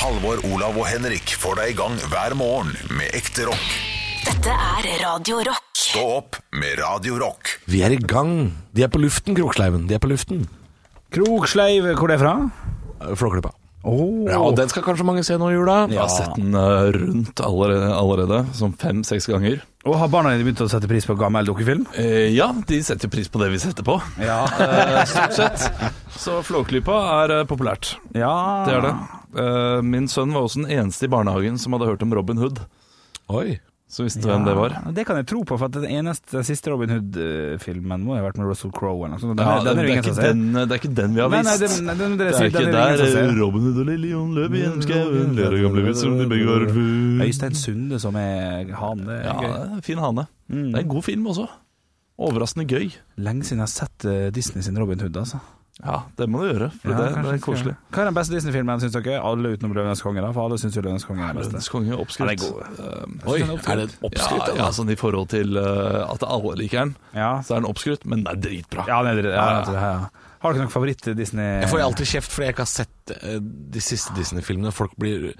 Halvor, Olav og Henrik får deg i gang hver morgen med ekte rock. Dette er Radio Rock. Stå opp med Radio Rock. Vi er i gang. De er på luften, Kroksleiven. De er på luften. Kroksleiv, hvor er det fra? Eh, Flåklypa. Oh. Ja, og den skal kanskje mange se nå i jula. Jeg har sett den eh, rundt allerede, allerede som fem-seks ganger. Og har barna dine begynt å sette pris på gammel dukkefilm? Eh, ja, de setter pris på det vi setter på. Ja. Eh, stort sett. Så Flåklypa er eh, populært. ja. Det er det. Ah. Eh, min sønn var også den eneste i barnehagen som hadde hørt om Robin Hood. Oi. Så visste du hvem det var. Ja, Det kan jeg tro på, for at den eneste den siste Robin Hood-filmen må jo ha vært med Russell Crowe eller noe sånt. og Den, Ja, er- den er det, jo er ingen ikke som ser. den, eh, det er ikke den vi har Nei, nei, vist. den, den, den, det dere er sier, ikke den er der det ingen eh, som ser. Robin Hood og Lillian løp i en skau, en lere gamle vits som de begge har hørt før. Øystein Sunde som er han. Det er Ja, det gøy. Mm. er en fin hane. Det er en god film også. Overraskende gøy. Lenge siden jeg har sett eh, Disney sin Robin Hood, altså. Ja, det må du gjøre, for Ja, kanskje det, det jeg er skal- koselig. Hva er den beste Disney-filmen, syns dere? Alle utenom Løvenes konge, da? For alle syns jo Løvenes konge er den beste. Lønnes konge oppskrytt. Um, Oi, er det en oppskrytt? ja, ja, sånn I forhold til uh, at alle liker den, Ja, så er den oppskrytt, men den er dritbra. ja, det er, det- ja, ja, ja, ja. Har dere noen favoritt-Disney? Jeg får alltid kjeft fordi jeg ikke har sett eh, de siste Disney-filmene. Folk blir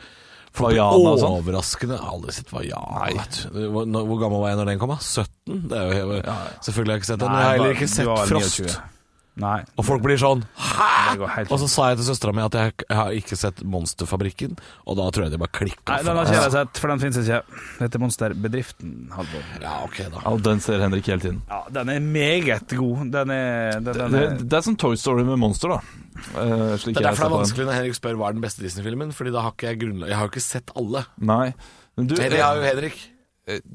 Folk blir Vaiana og sånn. overraskende Jeg har Aldri sett Vaiana. vet du. Hvor, når- hvor gammel var jeg når den kom? da? 17? Det er jo, jeg, selvfølgelig har jeg ikke sett den. Jeg har heller ikke du sett var 29. Frost. Nei. Og folk blir sånn Det går helt Og så sa jeg til søstera mi at jeg, jeg har ikke sett Monsterfabrikken, og da tror jeg de bare klikka. Nei, den har ikke jeg sett, for den finnes ikke. Dette er Monsterbedriften, Halvor. Ja, ok da. Ja, og den ser Henrik hele tiden. Ja, den er meget god. Den er, den, den Det, er det er som Toy Story med monster, da. Uh, slik Det er derfor det jeg ser er på den. vanskelig når Henrik spør hva er den beste Disney-filmen, Fordi da har ikke jeg grunnlag Jeg har jo ikke sett alle. Nei. Men du, eh, Eller jeg har jo Henrik.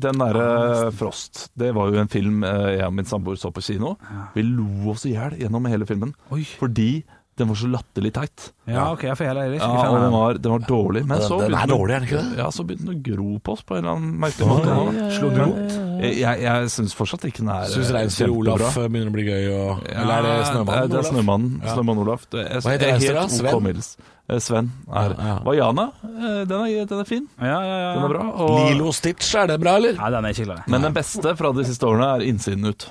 den derre eh, Frost, det var jo en film eh, jeg og min samboer så på kino. Vi lo oss i hjel gjennom hele filmen Oi. fordi den var så latterlig teit. Ja, OK, jeg får heller ikke Ja, fan av og den den. var, den var dårlig. Men Den- så den er begynte den- dårlig, er den ikke det? Ja, så begynte den å gro på oss på en eller annen merkelig måte. Slo den rot? Jeg, jeg syns fortsatt ikke den er Syns eh, reinsdyret kjempebra. Olaf begynner å bli gøy, og Eller er det Snømannen? Det er, det er Olaf? Snømannen, Ja. Snømann Olaf. Det er, Hva heter er reinsdyret, helt ok Sven? middels. Eh, Sven er Ja, ja. Vaiana, eh, den er, den er fin. Ja, ja, ja. Den er bra. Og, Lilo og Stitch, er det bra, eller? Nei, den er ikke glad i. Men den beste fra de siste årene er Innsiden ut.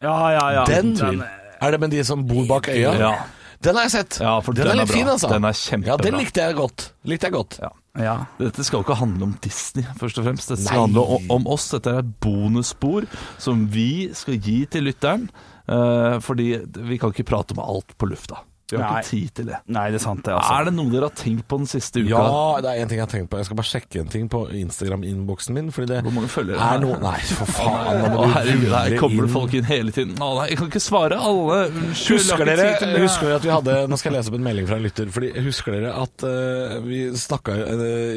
Ja, ja, ja. Den? er- Er det med de som bor bak øya? Ja. Den har jeg sett. Ja, for den er litt bra. fin, altså. Den er kjempebra. Ja, den likte jeg godt. Likte jeg godt. ja. Dette skal jo ikke handle om Disney, først og fremst. Dette skal Nei. handle om, om oss. Dette er et bonusspor som vi skal gi til lytteren. eh, fordi vi kan ikke prate om alt på lufta. Vi har Nei. ikke tid til det. Nei, det er sant, det, altså. Er det noe dere har tenkt på den siste uka? Ja, det er en ting jeg har tenkt på. Jeg skal bare sjekke en ting på Instagram-innboksen min. Fordi det Hvor mange følgere er er det? noe Nei, for faen. Nå Å, må du herregud, her hvile kommer inn. det folk inn hele tiden. Å, nei, jeg kan ikke svare alle. Unnskyld, jeg Husker har ikke dere, tid til det. husker dere at vi hadde Nå skal jeg lese opp en melding fra en lytter. Fordi Husker dere at eh, vi snakka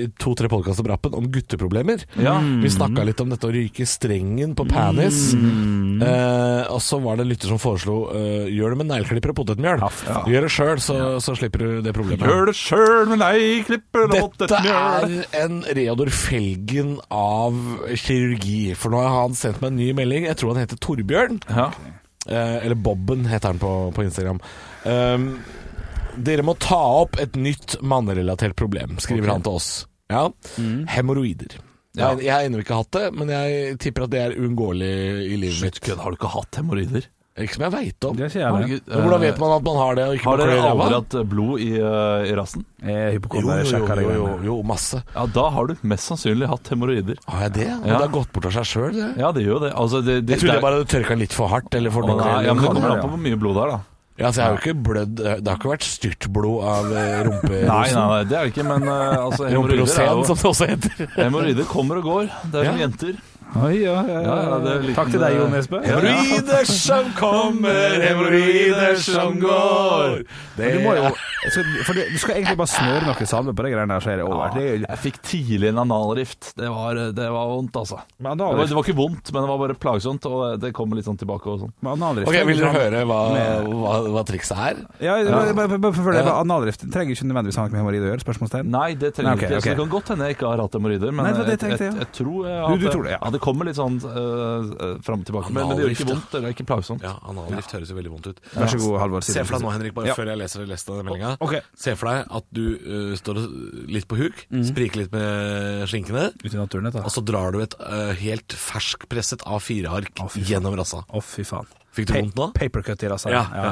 i to-tre podkaster på rappen om gutteproblemer? Ja. Vi snakka litt om dette å ryke strengen på penis. Mm. Eh, og så var det en lytter som foreslo eh, gjør det med negleklipper og potetmjøl. Gjør det sjøl, så, så slipper du det problemet. Gjør det sjøl, men nei, klipper låt Dette mjøl. er en Reodor Felgen av kirurgi. For nå har han sendt meg en ny melding. Jeg tror han heter Torbjørn. ja. Eh, eller Bobben heter han på, på Instagram. Um, dere må ta opp et nytt mannerelatert problem, skriver han til oss. Ja. Hemoroider. Mm. Ja. Jeg, jeg har ennå ikke hatt det, men jeg tipper at det er uunngåelig i livet mitt. Kødd, har du ikke hatt hemoroider? Ikke som jeg veit om. Det er ikke jeg, det. Herregud, Men hvordan eh, vet man at man har det? Og ikke Har dere ræva? aldri hatt blod i, eh, i rassen? Jeg er Jo, hypokonder, jeg jo, sjekker det. jo, jo, greiene. jo, masse. Ja, da har du mest sannsynlig hatt hemoroider. Har jeg det? Og Ja. det har gått bort av seg sjøl, det. Ja, det gjør jo det. Altså, det, det Jeg trodde det er- jeg bare hadde tørka litt for hardt. Eller for Å, noe. nei, ja, men Det kan kommer være, an på ja. hvor mye blod det er, da. Ja, så jeg har jo ikke blødd eh, Det har ikke vært styrtblod av eh, rumperosen. Nei, nei, nei, det er det ikke, men eh, altså, hemoroider er Rumperosen, jo som det også heter. Hemoroider kommer og går. Det er som Ja. jenter. Oi, ja, ja, ja. Ja, ja, det er litt- Takk til deg, Jon Espe. Ja. Hemoroider som kommer, hemoroider som går. Det Men Du, må jo, så- for du, du skal egentlig bare smøre noe salve på de greiene der, så er det over. Det er jo Jeg fikk tidlig en analrift. Det var, det var vondt, altså. Det Men var, analrift, det var ikke vondt, men det var bare plagsomt, og det kommer litt sånn tilbake og sånn. men analrift Ok, Vil dere høre hva, hva, hva trikset er? Ja, bare, bare, bare, forfølg det. Ja. Bare Analrift det trenger ikke nødvendigvis ha noe med hemoroider å gjøre? Spørsmålstegn? Nei, det trenger Nei, ok, ikke. Så ok. det kan godt hende jeg ikke har hatt hemoroider, men Nei, det var det jeg jeg, tenkte, jeg, ja. jeg tror jeg Du- har du tror det, ja. ja, det kommer litt sånn uh, fram og tilbake. Men, men det gjør ikke Analrift, vondt, det er ikke plagsomt. Ja, analgift høres jo veldig vondt ut. Vær så god, Halvor. Se for deg nå, Henrik, bare Ja. før jeg leser resten av den meldinga. Ok. Se for deg at du øh, står og- litt på huk, Mhm. spriker litt med skinkene, Ute i naturen, dette. og Altså- så drar du et øh, helt ferskpresset A4-ark Å, fy faen. gjennom rassa. Å, fy faen. Fikk du Pa- vondt nå? Papercut i rassa. Ja, Ja,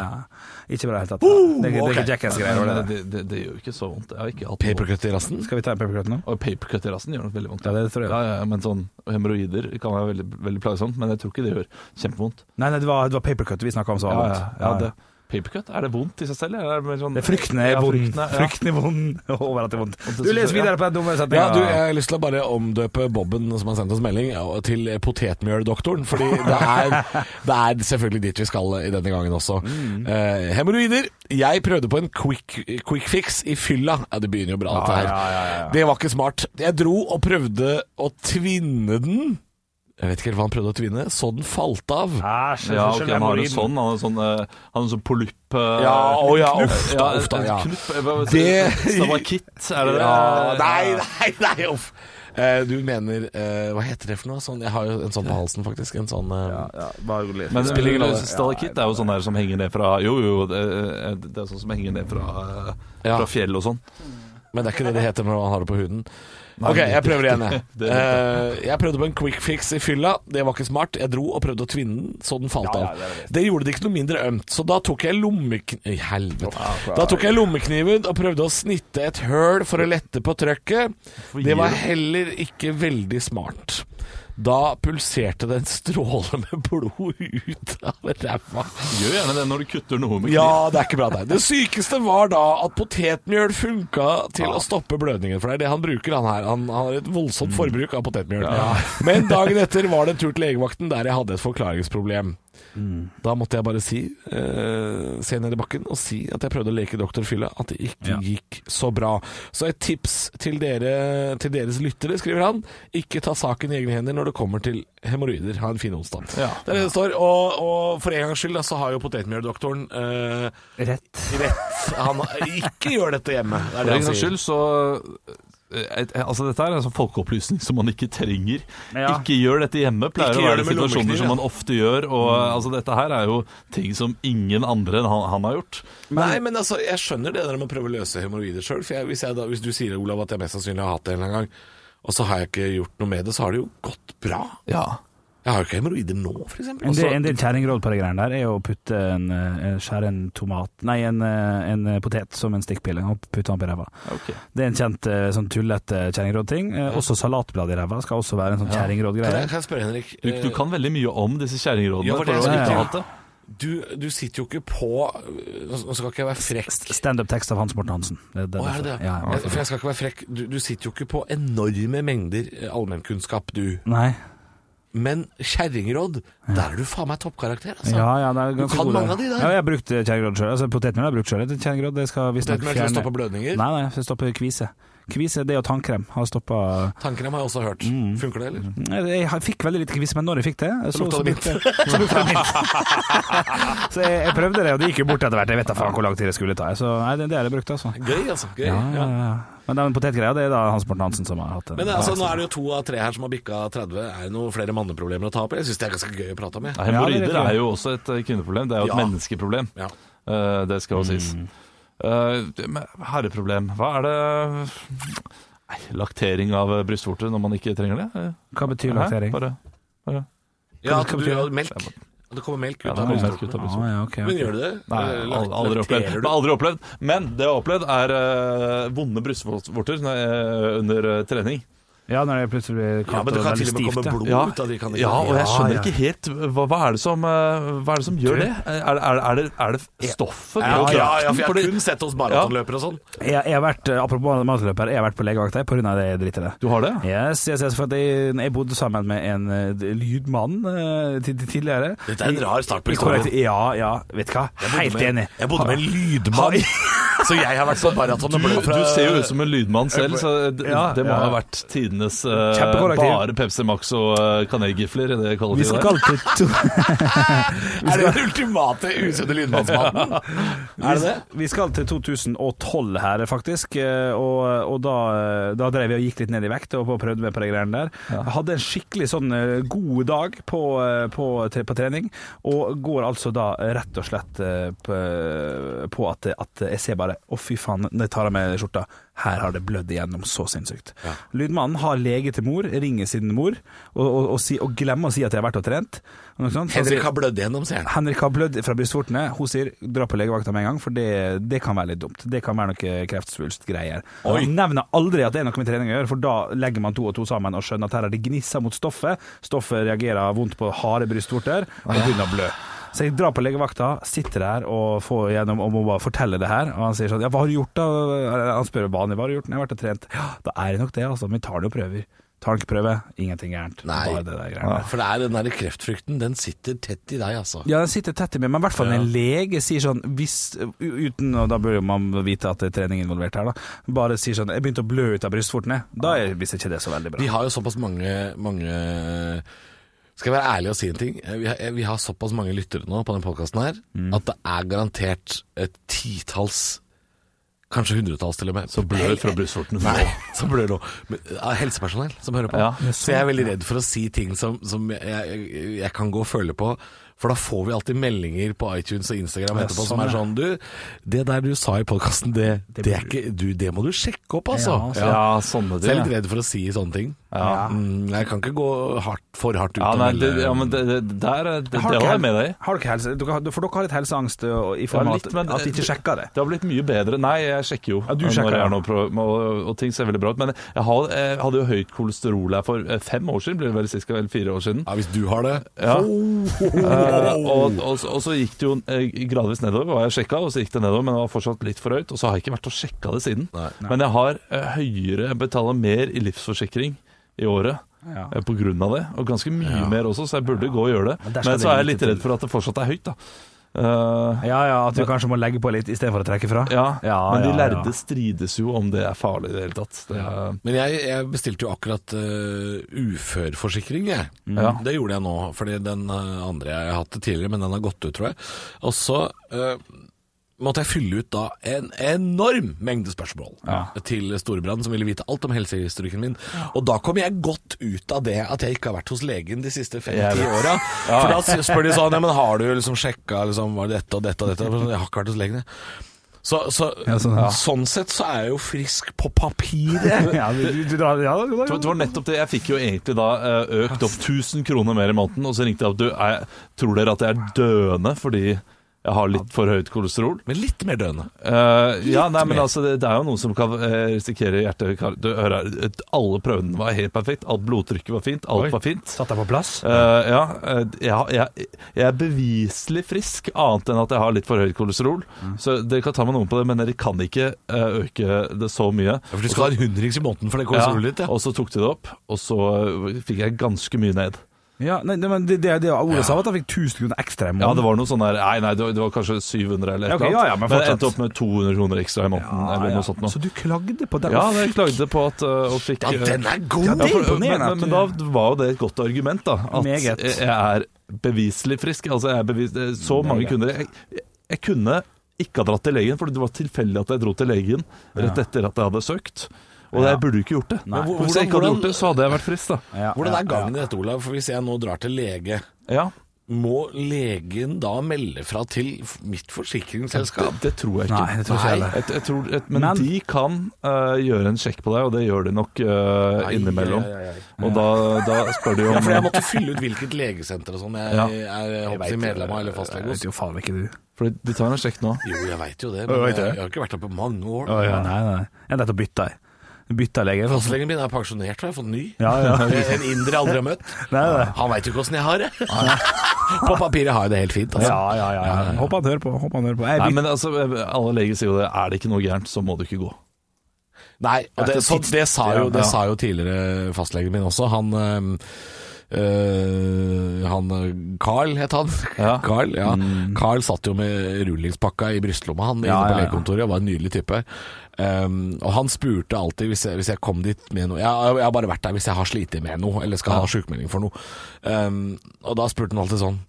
ja, Ikke bra i det hele tatt. Woo! det, er ikke- det er Ok. ikke Jackass-greier. Men øh, var det det? det, det, det gjør jo ikke så vondt. Jeg har ikke hatt noe- Papercut i rassen? Skal vi ta en papercut nå? Og papercut i rassen gjør nok veldig vondt. Ja, det tror jeg. Ja, ja, men sånn hemoroider kan være veldig, veldig plagsomt, men jeg tror ikke det gjør kjempevondt. Nei, nei, det var, det var papercut vi snakka om som Ja, var ja, vondt. ja, det. Papercut, er det vondt i seg selv? eller Er det, mer sånn, Det er frykten er Ja, vond. frykten er- ja. Frykten er vond over at det er vondt. det Du synes leser jeg- videre på den dumme setninga. Ja, du, jeg har lyst til å bare omdøpe Bobben som har sendt oss melding ja, til Potetmjøldoktoren, fordi det er, det er selvfølgelig dit vi skal i denne gangen også. Eh, Hemoroider. Jeg prøvde på en quick, quick fix i fylla. Ja, det begynner jo bra, dette her. ja, ja, ja. Det var ikke smart. Jeg dro og prøvde å tvinne den. Jeg vet ikke helt hva han prøvde å tvinne. Så den falt av. Æsj, Ja, ok, han har jo sånn, han har sånn, eh, han har sånn polypp... eh, Ja, å ja, uff da, ja, uff da. en Ja. Knupp, eh, hva- Det- Stavakitt, er det det? Ja, nei, nei, nei, uff. Eh, du mener eh, Hva heter det for noe? Sånn, jeg har jo en sånn på halsen, faktisk. En sånn eh, Men Spiller ingen rolle. stalakitt er jo sånn der som henger ned fra Jo, jo, det, det er sånn som henger ned fra, eh, Ja. fra fjell og sånn. Men det er ikke det det heter når man har det på huden. Ok, jeg prøver igjen, jeg. Det er Eh, jeg prøvde på en quick fix i fylla. Det var ikke smart. Jeg dro og prøvde å tvinne den, så den falt av. Det gjorde det ikke noe mindre ømt, så da tok jeg lommekn... I helvete. Da tok jeg lommekniven og prøvde å snitte et høl for å lette på trøkket. Det var heller ikke veldig smart. Da pulserte det en stråle med blod ut av ræva. Gjør gjerne det når du kutter noe med kniv. Ja, det er ikke bra det. Det sykeste var da at potetmjøl funka til å stoppe blødningen. For det er det han bruker, han her. Han, han har et Mm. voldsomt forbruk av potetmjøl. Men dagen etter var det en tur til legevakten der jeg hadde et forklaringsproblem. Da måtte jeg bare si, eh, se ned i bakken og si at jeg prøvde å leke doktor Fylla, at det ikke Ja. gikk så bra. Så et tips til, dere, til deres lyttere, skriver han. Ikke ta saken i egne hender når det kommer til hemoroider. Ha en fin onsdag. Ja. Det er det det står. Og, og for en gangs skyld da, så har jo potetmjøldoktoren eh, Rett. rett. Han ikke gjør dette hjemme. Det er For det en han gangs sier. skyld så eh, et- Altså Dette er en sånn folkeopplysning som man ikke trenger. Ja. Ikke gjør dette hjemme, pleier Ikke å gjør være det med situasjoner lommekniv, som ja. Mm. man ofte gjør. Og eh, altså Dette her er jo ting som ingen andre enn han, han har gjort. Nei, men altså, jeg skjønner det der med å prøve å løse hemoroider sjøl. Hvis, jeg da- hvis du sier, Olav, at jeg mest sannsynlig har hatt det en eller annen gang, og så har jeg ikke gjort noe med det, så har det jo gått bra. Ja Jeg har jo ikke hemoroider nå, Altså, f.eks. En del, en del kjerringråd på de greiene der er å putte en, eh, skjære en tomat Nei, en, eh, en eh, potet som en stikkpille og putte den opp i ræva. ok. Det er en kjent eh, sånn tullete kjerringrådting. Eh, Også salatblad i ræva skal også være en sånn Kan jeg, kjerringrådgreie. kan jeg spørre, Henrik? Du, du kan veldig mye om disse kjerringrådene. Ja, for det for å skulle jeg ikke til. hatt det. Du, Eh, du sitter jo ikke på Nå skal ikke jeg være frekk. Standup-tekst av Hans Morten Hansen. Det, det, Å, er det det? Ja, Jeg- For jeg skal ikke være frekk. Du, du sitter jo ikke på enorme mengder eh, allmennkunnskap, du. Nei. Men kjerringråd, der er du faen meg toppkarakter, altså. Ja, ja, det er Du ganske kan gode. mange av de der. Ja, jeg har brukt eh, kjerringråd sjøl. Altså, Potetmel har jeg brukt sjøl. Kjerringråd det skal Det er visstnok ikke mer til å stoppe blødninger. Nei, nei, det stopper kvise. Kvise, det og tannkrem har stoppa Tannkrem har jeg også hørt. Mm. Funker det, eller? Jeg har- fikk veldig lite kvise, men når jeg fikk det Så, lukta det brukte jeg- så brukte jeg mint. så jeg, jeg prøvde det, og det gikk jo bort etter hvert. Jeg vet da faen hvor lang tid det skulle ta. jeg. Så nei, det, det har jeg brukt, altså. Gøy, altså. Gøy. Ja, ja, Ja. ja. Men den potetgreia, det er da Hans Morten Hansen som har hatt den. Men altså, nå er det jo to av tre her som har bikka 30. Er det noen flere manneproblemer å ta opp? Jeg syns det er ganske gøy å prate om. Jeg. Nei, Ja, det er Hemoroider riktig. er jo også et eh, kvinneproblem. Det er jo et Ja. menneskeproblem. Ja. Mm. Eh, det skal jo sies. Eh, det- men herreproblem. Hva er det Nei, Laktering av eh, brystvorter når man ikke trenger det? Eh, altså- Hva betyr hæ? laktering? Bare, bare. Ja, Hva du, betyr ja, det? melk. At Det kommer melk ut Ja, det av kommer melk brystvorten. ut av brystvorten. Ah, ja, ok, ok. Men gjør du det? Nei, Eller al- lak- aldri opplevd. lakterer du? aldri opplevd. Men det jeg har opplevd, er eh, vonde brystvorter når- eh, under eh, trening. Ja, når det plutselig blir Ja, kaldt men det og kan veldig til og med stivt. komme ja. blod ut av de kan det Ja, ikke? og jeg skjønner ja. ikke helt hva, hva, er det som, eh, hva er det som gjør det? Er, er, er, det, er det stoffet? Ja, ja, ja, på krakten? for jeg Fordi- har kun sett hos maratonløpere og sånn. Jeg, jeg har vært, eh, apropos maratonløper, jeg har vært på legevakta på grunn av det dritet der. Du har det? Yes, yes, yes, for at jeg, jeg bodde sammen med en eh, lydmann eh, til- til tidligere. Dette er en rar start på I korrekt- historien. Ja, ja, vet du hva? Helt enig. Jeg bodde med en lydmann, så jeg har vært på maraton og Du, blødd fra du ser jo ut som en lydmann selv, så d- Ja, det må ja. ha vært tidenes finnes eh, Kjempekollektiv. bare Pepsi Max og eh, kanelgifler i Vi det kollektivet. der. skal til to Er det den ultimate usunne lydmannsmaten? Er det det? Vi skal til 2012 her, faktisk. eh, Og, og da, eh, da drev jeg og gikk litt ned i vekt og prøvde meg på de greiene der. Jeg hadde en skikkelig sånn eh, god dag på, eh, på, tre- på trening, og går altså da rett og slett eh, på, eh, på at, at jeg ser bare Å, fy faen, når jeg tar av meg skjorta. Her har det blødd igjennom så sinnssykt. Lydmannen har lege til mor, ringer sin mor og, og, og, si, og glemmer å si at jeg har vært og trent. Og noe sånt. Så sier- Henrik har blødd gjennom, sier han. Henrik har blødd fra brystvortene. Hun sier 'dra på legevakta med en gang', for det, det kan være litt dumt. Det kan være noe kreftsvulstgreier. Oi. Han nevner aldri at det er noe med trening å gjøre, for da legger man to og to sammen og skjønner at her er det gnissa mot stoffet. Stoffet reagerer vondt på harde brystvorter og begynner å blø. Så jeg drar på legevakta, sitter der og får gjennom og må bare fortelle det her. Og han sier sånn 'ja, hva har du gjort da?' Eller Han spør vanlig 'hva har du gjort?' 'Jeg har vært og trent'. Ja, da er det nok det, altså. Men vi tar det jo prøver. Tar det ikke prøve, ingenting gærent. Nei. Bare det der greiene. For det er den der kreftfrykten, den sitter tett i deg, altså. Ja, den sitter tett i meg, men i hvert fall når en lege sier sånn hvis, u- Uten, og da bør jo man vite at det er trening involvert her, da. Bare sier sånn 'Jeg begynte å blø ut av brystvortene'. Da er, visste ikke det så veldig bra. Vi har jo såpass mange, mange Skal jeg være ærlig og si en ting? Eh, Vi har, vi har såpass mange lyttere nå på denne podkasten her Mm. at det er garantert et titalls, kanskje hundretalls til og med Så blør fra brystvortene. Nei, som blør nå. Men, av helsepersonell som hører på. Ja. Så jeg er veldig redd for å si ting som, som jeg, jeg, jeg kan gå og føle på. For da får vi alltid meldinger på iTunes og Instagram etterpå som er sånn Du, det der du sa i podkasten, det, det, er ikke du, Det må du sjekke opp, altså. Ja, Ja, sånne Så jeg er ting. litt ja. redd for å si sånne ting. Ja. Mm, jeg kan ikke gå hardt, for hardt ut. Ja, og nei, det, melde- ja, men det, det, der, er- det, det dere var jeg med hel- deg i. Har dere helse, dere, har- for dere har litt helseangst og, i form Ja, av litt, at, men- at de ikke sjekker det. Det har blitt mye bedre. Nei, jeg sjekker jo. Ja, du når sjekker, ja. jeg er nå på- og, og ting ser veldig bra ut. Men jeg, har, jeg hadde jo høyt kolesterol her for eh, fem år siden, blir det vel sist, eller fire år siden. ja, hvis du har det Ja. Eh, og, og, så- og så gikk det jo eh, gradvis nedover, og jeg sjekka, og så gikk det nedover, men det var fortsatt litt for høyt. Og så har jeg ikke vært og sjekka det siden. Nei. Men jeg har eh, høyere Jeg betaler mer i livsforsikring i året. Ja. eh, På grunn av det, og ganske mye mer også, så jeg burde gå og gjøre det. Men der Men, skal det så er jeg lite litt redd for at det fortsatt er høyt, da. Eh, Ja ja, at du kanskje må legge på litt istedenfor å trekke fra. ja, Ja, men de ja, ja. lærde strides jo om det er farlig i det hele tatt. Det er, Men jeg, jeg bestilte jo akkurat eh, uførforsikring, jeg. Ja. Det gjorde jeg nå, fordi den eh, andre jeg har hatt det tidligere, men den har gått ut, tror jeg. Og så eh, måtte jeg fylle ut da en enorm mengde spørsmål til Storebrand, som ville vite alt om helsehistorikken min. Og da kom jeg godt ut av det at jeg ikke har vært hos legen de siste 50 åra. For da s- spør de sånn Ja, men har du liksom sjekka liksom, Var det dette og dette og dette? Jeg har ikke vært hos legen, jeg. Så, så, Ja, sånn, sånn, ja. sett så er jeg jo frisk på papiret. Ja, du, du, du, ja, ja, ja, Det var- det var nettopp det. Jeg fikk jo egentlig da eh, økt opp 1000 kroner mer i måneden, og så ringte jeg opp. Du, jeg tror dere at jeg er døende fordi jeg har litt for høyt kolesterol? Men litt mer døende. Eh, ja, nei, men mer. altså, det, det er jo noen som kan eh, risikere hjertekar... Du, hør her, et- alle prøvene var helt perfekt. Alt blodtrykket var fint. Oi. Alt var fint. Satt deg på plass? Eh, ja, eh, jeg, jeg, jeg er beviselig frisk, annet enn at jeg har litt for høyt kolesterol. Mm. Så dere kan ta med noen på det, men dere kan ikke eh, øke det så mye. For du skal ha en hundrings i måneden for det kolesterolet ditt, ja. Og så tok de det opp, og så øh, fikk jeg ganske mye ned. Ja, nei, nei, men det, det, det Ole sa, var at han fikk 1000 kroner ekstra i Ja, det måneden. var noe sånn der Nei, nei, det var, det var kanskje 700 eller Ja, et ok, eller annet. ja, ja, men men jeg fortsatt. endte opp med 200 kroner ekstra i måneden, eller noe sånt Så noe. du klagde på den? Ja, jeg klagde på at øh, og fikk Ja, øh, den er god! Ja, ja, det- for, men, imponerende men, at men da du- var jo det et godt argument, da. At Meget. jeg jeg er beviselig frisk. Altså, jeg er bevis, det er så mange kunder jeg, jeg- jeg kunne ikke ha dratt til legen, for det var tilfeldig at jeg dro til legen rett etter at jeg hadde søkt. Og jeg burde jo ikke gjort det. Nei. Men Hvis jeg ikke hadde Hvordan- gjort det, så hadde jeg vært frisk, da. Ja, Hvordan ja, er gangen i dette, Olav? For hvis jeg nå drar til lege, Ja, må legen da melde fra til f- mitt det, forsikringsselskap? det tror jeg ja. ikke. Nei, det tror ikke jeg Nei. heller. Jeg, jeg tror, et, men, Men- de kan eh, gjøre en sjekk på deg, og det gjør de nok eh, Ai, innimellom. ai, ai, Og da, da spør de om Ja, for jeg måtte fylle ut hvilket legesenter og sånn jeg Ja. er jeg håper jeg, medlem av eller Jeg fastlege hos. vet jo faen ikke du. Fordi de tar en sjekk nå. Jo, jeg veit jo det, Ja, men jeg, jeg vet det. jeg har ikke vært der på mange år. Å, ja, nei, nei. Jeg er nødt til å bytte deg. Bytte lege. Fastlegen min er pensjonert, og jeg har fått ny. Ja, ja. En inder jeg aldri har møtt. Nei, nei. Han veit jo ikke åssen jeg har det. På papiret har jeg det helt fint, Ja, altså. ja, ja. ja. Håper han hører på. Håper han hører på. Jeg Nei, bytter. men altså, alle leger sier jo det. Er det ikke noe gærent, så må du ikke gå. Nei, og det, Etter så, tids- det, sa jo, Ja. det sa jo tidligere fastlegen min også. Han, øhm, ehm, eh, han Carl het han. Ja. Mm. Carl, ja. Carl satt jo med rullingspakka i brystlomma, han Ja, inne ja, på ja. legekontoret. Var en nydelig type. Um, og han spurte alltid hvis jeg, hvis jeg kom dit med noe jeg, jeg har bare vært der hvis jeg har slitt med noe, eller skal ha sjukmelding for noe. Um, og da spurte han alltid sånn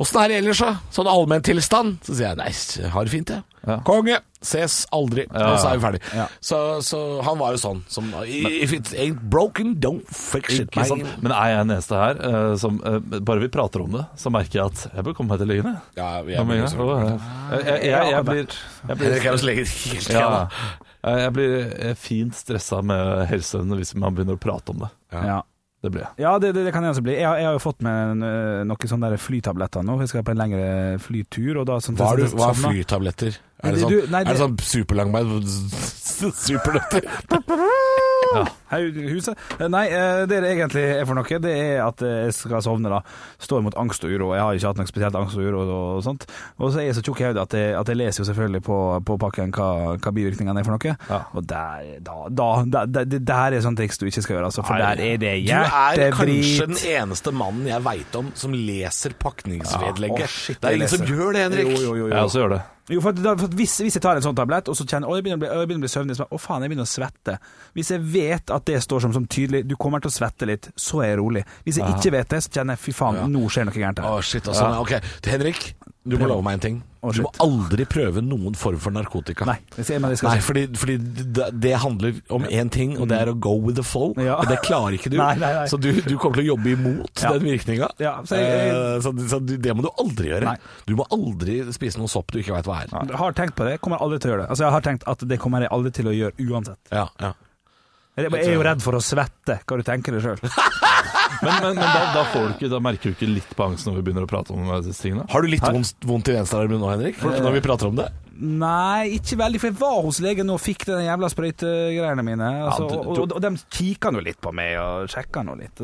Åssen er det ellers, da? Sånn allmenntilstand? Så sier jeg nei, jeg har det fint, jeg. Konge! Ses aldri. Og så er vi ferdig. Så, så han var jo sånn som If it ain't broken, don't fix it. Ikke sant? Men er jeg den eneste her eh, som eh, Bare vi prater om det, så merker jeg at jeg bør komme meg til legen. jeg. Ja, vi Ja, er men mye jeg- sånn. jeg- jeg- jeg- jeg blir- jeg Henrik blir- er hos legen hele tida. Ja, jeg- jeg blir eh, fint stressa med helseøynene hvis man begynner å prate om det. Ja. Det blir jeg. Ja, det, det, det kan jeg også bli. Jeg, har- jeg har jo fått med øh, noen sånne der flytabletter nå. for Jeg skal på en lengre flytur. Og da, sånn, Hva er, du, sånn- hva er sånn- flytabletter? Nei, Er det sånn, du- nei, er det det- sånn superlangbein Supernøtter? Hei, huset. Eh, Nei, eh, det det egentlig er for noe, det er at eh, jeg skal sovne, da. Står mot angst og uro. Jeg har ikke hatt noe spesielt angst og uro og, og sånt. Og så er jeg så tjukk i hodet at, jeg- at jeg leser jo selvfølgelig på, på pakken hva, hva bivirkningene er for noe. Og der, da, da, da, det- det der er sånn triks du ikke skal gjøre, altså. For der er det Du er kanskje den hjertebrit. eneste mannen jeg veit om som leser Ja, å, pakningsvedlegget. shit, det er jeg ingen som leser. gjør det, Henrik. Jo, jo, jo, jo. Jeg også gjør det. Jo, for, at da, for at hvis, hvis jeg tar en sånn tablett, og så kjenner jeg, «Å, jeg begynner å bli, å, jeg begynner å bli søvnig, så bare, å faen, jeg begynner å svette. Hvis jeg vet at det står som, som tydelig, du kommer til å svette litt, så er jeg rolig. Hvis jeg ikke vet det, så kjenner jeg, fy faen, nå skjer noe gærent Å, her. shit, altså. Ja. Ok, Henrik, du må Prøv. love meg en ting. Å, Du må shit. aldri prøve noen form for narkotika. Nei, jeg sier, men jeg skal Nei, fordi, fordi det- det handler om én ting, og det er å go with the flow. Ja. Og det klarer ikke du. Nei, nei, nei. Så du, du kommer til å jobbe imot Ja. den virkninga. Eh, Ja, så jeg- så, så du, det må du aldri gjøre. Nei. Du må aldri spise noe sopp du ikke veit hva er. Jeg har tenkt på det, kommer aldri til å gjøre det. Altså, jeg har tenkt at det kommer jeg aldri til å gjøre uansett. Ja, ja. Jeg jeg er jo redd for å svette, hva du tenker deg selv. Men, men, men da, da, får du ikke, da merker du ikke litt på angsten når vi begynner å prate om disse tingene? Har du litt vondt, vondt i venstrearmen nå, Henrik? For, Eh, når vi prater om det? Nei, ikke veldig, for jeg var hos legen nå og fikk den jævla sprøytegreiene mine. Altså, du- og, og, og de kikker nå litt på meg og sjekker nå litt.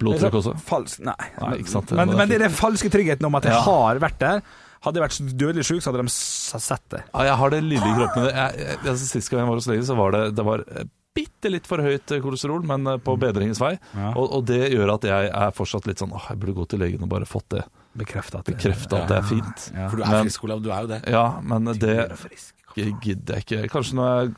Blodtrykk også? Falsk, nei. Nei, ikke sant. Men, Det er men det fint. er den falske tryggheten om at jeg Ja. har vært der. Hadde jeg vært dødelig sjuk, så hadde de s- sett det. Ja, jeg har det lille i kroppen. Jeg, jeg, jeg, sist gang jeg var hos legen, så var det, det var eh, bitte litt for høyt kolesterol, men eh, på bedringens vei. Ja. Og, og det gjør at jeg er fortsatt litt sånn åh, jeg burde gå til legen og bare fått det Bekrefta at bekrefta at det er fint. Ja. For du er Men- frisk, Olav. Du er jo det. Ja, men det Blir du frisk? gidder jeg ikke. Kanskje når jeg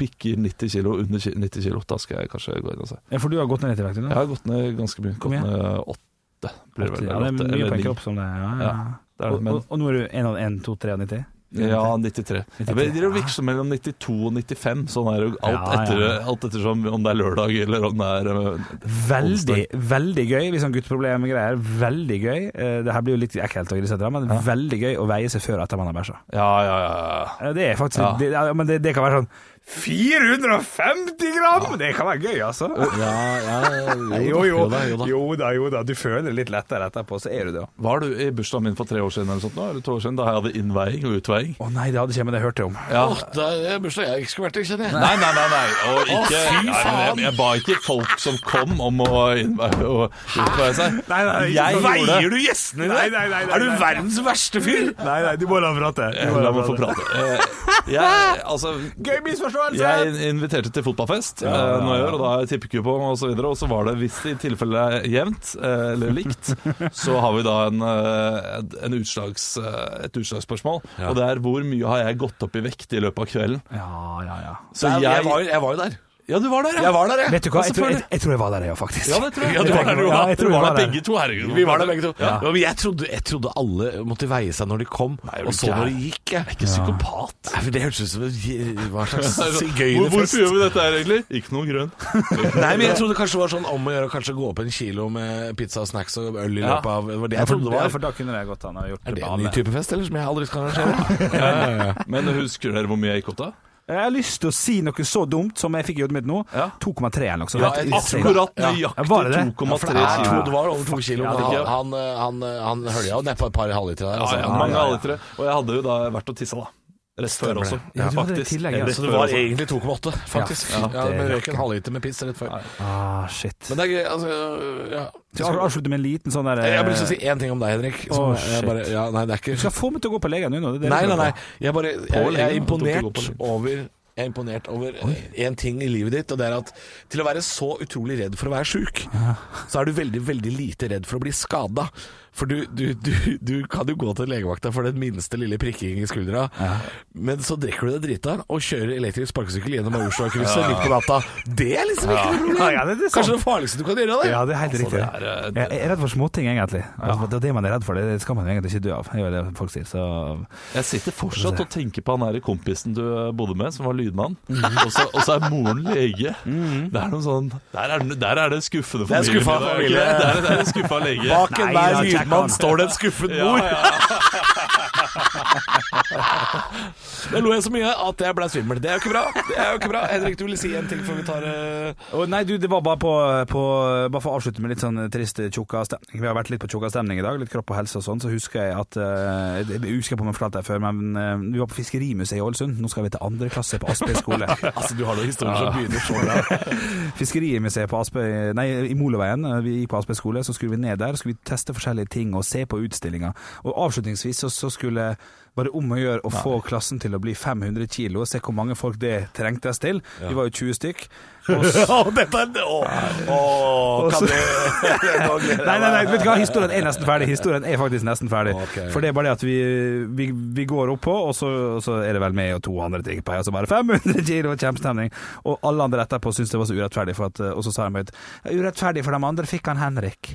bikker 90 kilo, under ki- 90 kilo, da skal jeg kanskje gå inn og se. Ja, for du har gått ned litt i vekt? du nå? Jeg har gått ned ganske mye. Kom Gått igjen. ned åtte, blir det vel. Ja, det er Åtte mye eller på ni. en kropp som det. Ja, ja. Ja, det er det, og, men- og, og nå er du 1 av 1, 2, 3 av 90? Ja, 93. 93, Jeg vet, det virker som mellom 92 og 95. Sånn er det jo alt, Ja, ja. etter, alt ettersom om det er lørdag eller om det er eh, Veldig, onsdag. veldig gøy. Litt sånn gutteproblem-greier. Veldig gøy. Eh, Det her blir jo litt ekkelt, og grisete, men veldig gøy å veie seg før etter man har bæsja. Ja, ja, ja. Eh, Det er faktisk Ja. det, ja, Men det, det kan være sånn 450 gram! Det kan være gøy, altså. Jo, jo. da, jo da. Jo da, jo da. Du føler det litt lettere etterpå, så er du det òg. Var du i bursdagen min for tre år siden eller sånt nå? Eller to år siden, da jeg hadde innveiing og utveiing? Å nei, det hadde ikke jeg, men det hørte jeg om. Ja. Åh, det er bursdag jeg ikke skulle vært i, kjenner jeg. Nei, nei, nei. nei. Og ikke, fy nei, men jeg, faen. jeg ba ikke folk som kom om å innveie og utveie seg. Nei, nei, jeg gjorde Veier det. du gjestene Nei, dine? nei, nei, nei, Er du nei. verdens verste fyr? Nei, nei, du må la ham prate. Du må La meg få prate. prate. Eh, Jeg, altså, Gøy misforståelse! Jeg inviterte til fotballfest ja, ja, nå i ja. år, og da har jeg tippekupong og så videre, og så var det, hvis det i tilfelle er jevnt, eh, eller likt, så har vi da en, eh, en utslags, eh, et utslagsspørsmål, og det er hvor mye har jeg gått opp i vekt i løpet av kvelden? Ja, ja, ja. Så Nei, jeg, jeg, var, jo- jeg var jo der. Ja, du var der, ja. Jeg var der, jeg. Vet du hva, Ja, jeg tror jeg, selvfølgelig. jeg, tror jeg var der, jeg òg, faktisk. Ja, det tror jeg. Ja, du var der, du var ja, der. jeg tror vi var der begge to, herregud. Vi var der begge to. Ja. Ja. men jeg trodde, jeg trodde alle måtte veie seg når de kom, er du og så gæren? når de gikk. Jeg. Ikke psykopat. Nei, for Det hørtes ut som en- hva slags Hvor, hvorfor gjør sigøynerfest. vi dette her egentlig? Ikke noe grønn. Nei, men jeg trodde kanskje det var sånn om å gjøre å kanskje gå opp en kilo med pizza og snacks og øl i Ja. løpet av Det var det jeg Ja, for, trodde det ja, var. for da kunne jeg gått an og gjort Er det med en ny alle. type fest, eller som jeg aldri skal arrangere? Men husker dere hvor mye jeg gikk opp da? Jeg har lyst til å si noe så dumt som jeg fikk i hodet mitt nå. Ja. 2,3 eller noe sånt. Ja, Helt insane. akkurat Ja, var det nøyaktig det? 2,3 For det, er to, det kilo. var over to kilo. men Ja, det han, fikk jeg. han, han, han hølja jo nedpå et par halvlitere der. Ja, Altså. ja, Han- mange halvlitere. Og jeg hadde jo da vært og tissa, da. Rett før også. Ja, du hadde det i Faktisk. tillegg, altså. ja. Rett Så det før var også. egentlig 2,8, faktisk. Ja, Ja, ja, det- men røyk en halvliter med piss rett før. Ah, shit. Men det er gøy, altså ja. Så Skal du avslutte med en liten sånn der eh, Jeg har bare lyst til å si én ting om deg, Henrik. som Åh, jeg shit. bare, ja, nei, det er Du skal ikke få meg til å gå på legen nå. nå, Det er det Nei, du nei, skal nei. få. Jeg, bare, jeg, jeg er legen. Tok det imponert godt på legen. over Jeg er imponert over én ting i livet ditt, og det er at til å være så utrolig redd for å være sjuk, så er du veldig, veldig lite redd for å bli skada. For du, du, du, du kan jo gå til legevakta for den minste lille prikking i skuldra, men så drikker du deg drita og kjører elektrisk sparkesykkel gjennom Oslo-krysset midt på natta. Det er liksom ikke noe problem! Ja, ja, det er sant. Kanskje det farligste du kan gjøre, Altså, det. Ja, det er helt riktig. det er, eh, jeg jeg er redd for småting, egentlig. Altså, det er det man er redd for. Det skal man jo egentlig ikke dø av. Det er jo det folk sier. Så Jeg sitter fortsatt og tenker på han her kompisen du eh, bodde med, som var lydmann. Mhm. Og, så, og så er moren lege. Det er noen sånn Der er, den- der er det skuffende Det er familie. skuffa familie. Det er, det er en skuffa lege. Bak Nei, enhver da, tjekk han. lydmann står det en skuffet mor. Da lo jeg så mye at jeg ble svimmel. Det er jo ikke bra. Det er jo ikke bra. Henrik, du ville si en ting før vi tar eh, Å, Nei, du, det var bare på, på Bare for å avslutte med litt sånn trist tjukka stemning. Vi har vært litt på tjukka stemning i dag, litt kropp og helse og sånn. Så husker jeg at eh, Jeg husker på om jeg fortalte det før, men eh, vi var på Fiskerimuseet i Ålesund. Nå skal vi til andre klasse på Aspøy skole. Altså, du har noen historier som begynner så bra. Fiskerimuseet på Aspøy Nei, i Moleveien. eh, Vi gikk på Aspøy skole, så skulle vi ned der. Skulle vi teste forskjellige ting og se på utstillinga. Og avslutningsvis så, så skulle bare om å gjøre å få klassen til å bli 500 kilo. Se hvor mange folk det trengtes til. Vi var jo 20 stykk. Og så Å, dette er Å, å, kan du Nei, nei, nei, vet du hva? historien er nesten ferdig. Historien er faktisk nesten ferdig. Ok. For det er bare det at vi, vi, vi går oppå, og så, og så er det vel meg og to andre ting på, og så bare 500 kilo, kjempestemning. Og alle andre etterpå syntes det var så urettferdig, for at, og så sa de høyt «Ja, Urettferdig, for de andre fikk han Henrik.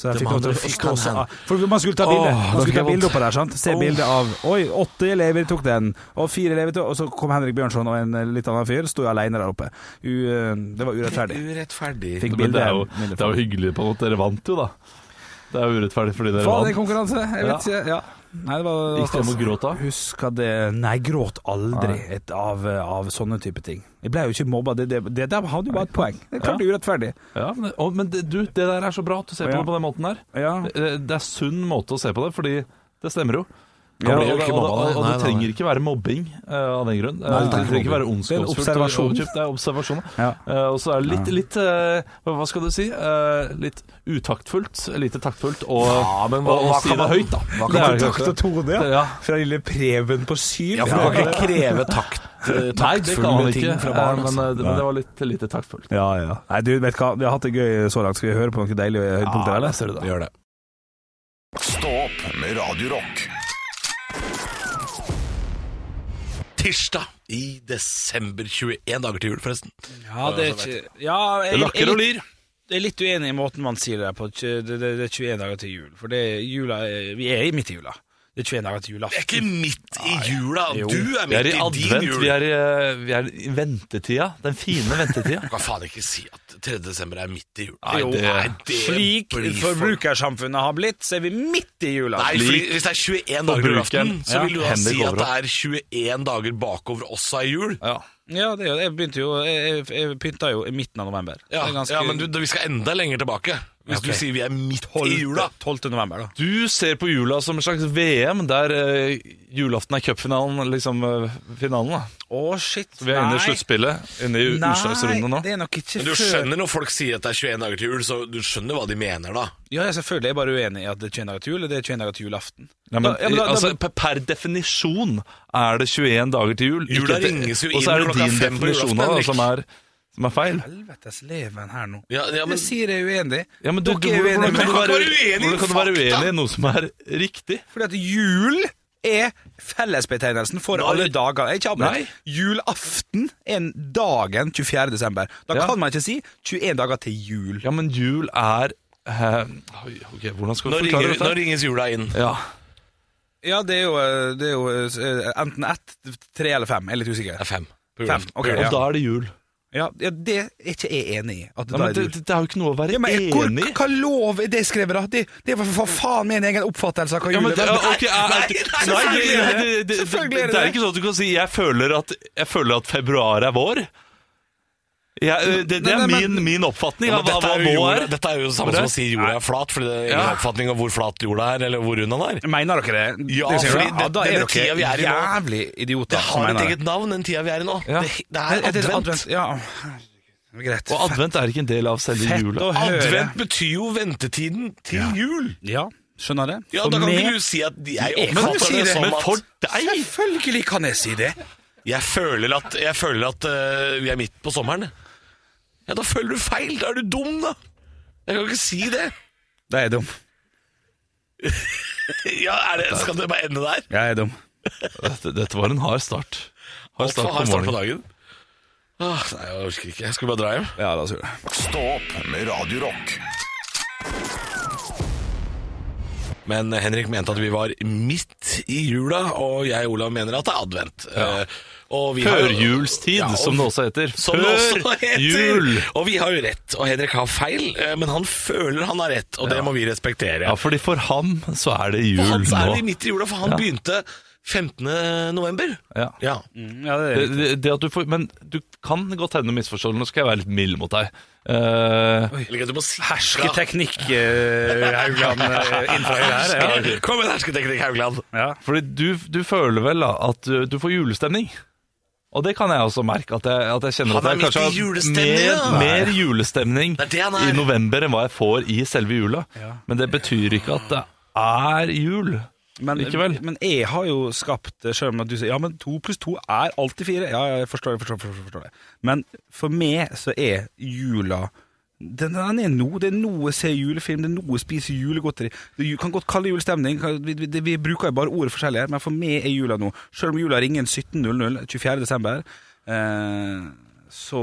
Så De jeg fikk lov til andre å fikk stå han så- Henrik. For man skulle ta bilde. Åh, man det skulle ta blir bilde vondt. oppå der, sant. Se Åh. bilde av Oi, åtte elever tok den, og fire elever tok Og så kom Henrik Bjørnson og en eh, litt annen fyr, sto aleine der oppe. U, eh, det var urettferdig. Urettferdig. Fikk Men det bilde. er, jo, det er jo hyggelig på en måte. Dere vant jo, da. Det er jo urettferdig fordi dere Faen, det er vant. konkurranse. Jeg vet Ja. ikke. Ja. Nei, det var, Gikk det om å gråte av? Husk at det Nei, gråt aldri et, av, av sånne type ting. Jeg ble jo ikke mobba. Det, det, det der hadde jo bare et poeng. Det er klart det er urettferdig. Ja, men, å, men det, du, det der er så bra at du ser på Ja. det på den måten der. Ja. Det, det er sunn måte å se på det, fordi det stemmer jo. Ja, og, blir jo og, ikke og, mobba, og, det. og det Nei, nei, trenger nei. ikke være mobbing eh, av den grunn. Eh, det er det ikke trenger ikke være Det er en ondskapsfullt. observasjon. og- og kjipt. Det er observasjon. Ja. Eh, og så er det litt, litt eh, Hva skal du si? Eh, litt utaktfullt. Lite taktfullt. Og, Ja, men hva- og, og hva si kan det man- høyt, da. Hva Det er kan jo du kanskje takte det. Tone, ja? Det- ja. Fra lille Preben på syv? Ja, for du kan ikke kreve takt, eh, Nei, det kan man taktfulle ikke. ting fra barn. eh, men, altså. eh, det, men det var litt lite taktfullt. Ja, ja. Nei, du vet hva, vi har hatt det gøy så langt. Skal vi høre på noen deilige høydepunkter, eller? Gjør det. Stå opp med Radio Rock. Tirsdag i desember. 21 dager til jul, forresten. Ja, det er ikke ja, jeg, jeg, Lakker og jeg, lir. er litt uenig i måten man sier det på. Det, det, det er 21 dager til jul. For det er jula er- Vi er i midt i jula. Det er 21 dager til Det er julaften. ikke midt i jula. Jo. Du er Vi midt er i, i din advent. jul. Vi er i, eh, vi er i ventetida. Den fine ventetida. Du kan faen ikke si at 3. desember er midt i jula. Nei, det- Slik blir for- forbrukersamfunnet har blitt, så er vi midt i jula. Nei, fordi hvis det er 21 dager til julaften, Forbrukeren. så Ja. vil du da Henrik si at det Overhoff. er 21 dager bakover også er jul. Ja. Ja, det er jo det. Jeg begynte jo Jeg, jeg, jeg pynta jo i midten av november. Ja, Det er ganske- ja men du, vi skal enda lenger tilbake. Hvis Ok. du sier vi er midt Tolvte- i jula. 12. november, da. Du ser på jula som en slags VM, der eh, julaften er cupfinalen, liksom eh, finalen. da Å, shit. Vi er inne i nei. sluttspillet, inne i u- utslagsrunden Nei, nå. det er nok ikke Men du før skjønner når folk sier at det er 21 dager til jul, så du skjønner hva de mener da. Ja, jeg er selvfølgelig. Jeg er bare uenig i at det er 21 dager til jul, og det er 21 dager til julaften. Nei, men, Da- ja, men da- da- altså, per- per definisjon er det 21 dager til jul. Jula ikke- ringes jo Og så inn er det klokka din fem på definisjon av julaften, det som er, som er feil. Helvetes leven her nå. Ja, ja, men- Jeg sier jeg er uenig. Ja, men du, du, Dere er uenige, hvordan men kan kan du ikke være være uenig i hvordan kan du være fakta? uenig i noe som er riktig? Fordi at jul er fellesbetegnelsen for alle dager. Jeg er Ikke Nei. avbryt. Julaften er dagen 24. desember. Da Ja. kan man ikke si 21 dager til jul. Ja, men jul er eh, oi, Ok, hvordan skal Nå, vi ringer, forklare nå dette? ringes jula inn. Ja, Ja, det er jo, det er jo eh, enten ett, tre eller fem. Jeg er litt usikker. Det er fem. på Fem. julaften. ok, Og ja. da er det jul. Ja, ja, det er ikke jeg enig i. At da Ja, men er det det, jul. det er jo ikke noe å være Ja, men hvor, enig i. hva lov er det skrevet, da? Det, det er for, for faen min egen oppfattelse av hva Ja, jul men, er. ja, ok, er- er- Nei, nei, selvfølgelig det- er det det- det- Selvfølgelig er det. det Det er det. ikke sånn at du kan si 'jeg føler at, jeg føler at februar er vår'. Jeg, eh, det, det Nei, er nei, min, men- min oppfatning Ja, av men hva dette, hva er jo nå jorda, er. dette er jo det samme Hva er som det? å si jorda er flat, fordi det er ingen Ja. oppfatning av hvor flat jorda er, eller hvor rund den er. Mener dere det? Ja, det sier fordi dere. ja, det- da denne er tida vi dere er i nå- jævlig idioter. Det som har et mener eget navn, den tida vi er i nå. Ja. Det, det er Det- det advent. Ja, greit. Og advent er ikke en del av selve Fett å jula. høre. Advent betyr jo ventetiden til jul. Ja, skjønner det. Ja, For da kan meg- ikke du si at jeg Jeg kan jo oppfatter si det det, som Men at for deg! Selvfølgelig kan jeg si det. Jeg føler at, jeg føler at eh, vi er midt på sommeren. Ja, da føler du feil. Da er du dum, da. Jeg kan ikke si det. Da er jeg dum. Ja, er det skal det bare ende der? Jeg er dum. Dette, dette var en hard start. Hard Altfor start hard på start på morgenen. dagen. Ah, nei, jeg orker ikke. Jeg skulle bare dra hjem. Ja, la oss gjøre det. Stå opp med Radio Rock. Men eh, Henrik mente at vi var midt i jula, og jeg, Olav, mener at det er advent. Eh, og vi har- Førjulstid, Ja, og- som det også heter. Som det også heter. jul! Og vi har jo rett, og Henrik har feil, eh, men han føler han har rett, og det må vi respektere. Ja, fordi for ham så er det for jul han så er vi nå. midt i jula, for han Ja. begynte 15. november. Ja. Mm, Ja. Ja, det er Det, riktig. det, det at du får, men du kan godt hende misforstå, nå skal jeg være litt mild mot deg. Eh, Eller du må si Ikke teknikk, eh, Haugland, eh, innenfor høyre her. Ja. Kom med hersketeknikk, Haugland. Ja. ja. fordi du, du føler vel da, at du, du får julestemning. Og det kan jeg også merke, at jeg, at jeg kjenner Han at er jeg midt i kanskje julestemning, mer, da. mer julestemning Det er det han er. i november enn hva jeg får i selve jula. Men det betyr ikke at det er jul. Men, Likevel. men jeg har jo skapt eh, Selv om at du sier Ja, men to pluss to er alltid fire Ja, ja, jeg forstår det, forstår, forstår, forstår det Men for meg så er jula den, den er noe, det er noe å se julefilm Det er noe å spise julegodteri Du kan godt kalle det julestemning kan- vi, vi, vi bruker jo bare ordet forskjellig her Men for meg er jula nå Selv om jula ringer 17.00 24. desember eh, så,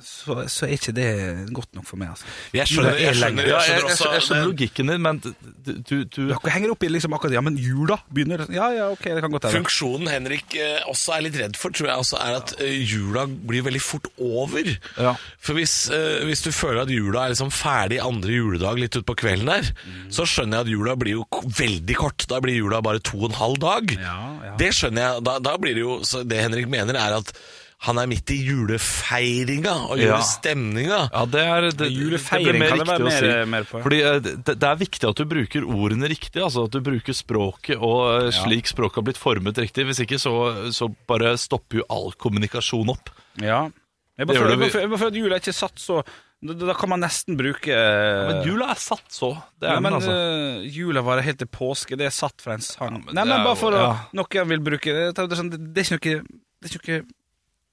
så, så er ikke det godt nok for meg altså. Jeg skjønner, Jula er jeg skjønner, lenge. jeg Ja, jeg, skjønner jeg, også jeg skjønner det- logikken din, men du, du, du Dere henger opp i liksom akkurat Ja, men jula begynner Ja, ja, ok, det kan godt være eh, Funksjonen Henrik eh, også er litt redd for, tror jeg også er at eh, jula blir veldig fort over. Ja. For hvis, eh, hvis du føler at jula er liksom ferdig andre juledag litt utpå kvelden der, så skjønner jeg at jula blir jo k- veldig kort. Da blir jula bare to og en halv dag. Ja, ja. Det skjønner jeg. Da, da blir det jo så Det Henrik mener, er at han er midt i julefeiringa og Ja. julestemninga. Ja, det er det, Julefeiring det blir mer kan det være riktig å mer- si. mer på, ja. Fordi eh, det, det er viktig at du bruker ordene riktig, altså at du bruker språket og eh, slik språket har blitt formet riktig. Hvis ikke så, så bare stopper jo all kommunikasjon opp. Ja. Jeg Det bare gjør føler- jeg det. bare føler jeg bare føler at jula er ikke satt så da, da da kan man nesten bruke ja, Men jula er satt så. Det er ja, men den, altså. eh, jula varer helt til påske. Det er satt fra en sang. men Nei, det men er bare jo- for å ja. Noen vil bruke det, er sånn, det, det er ikke noe Det er ikke noe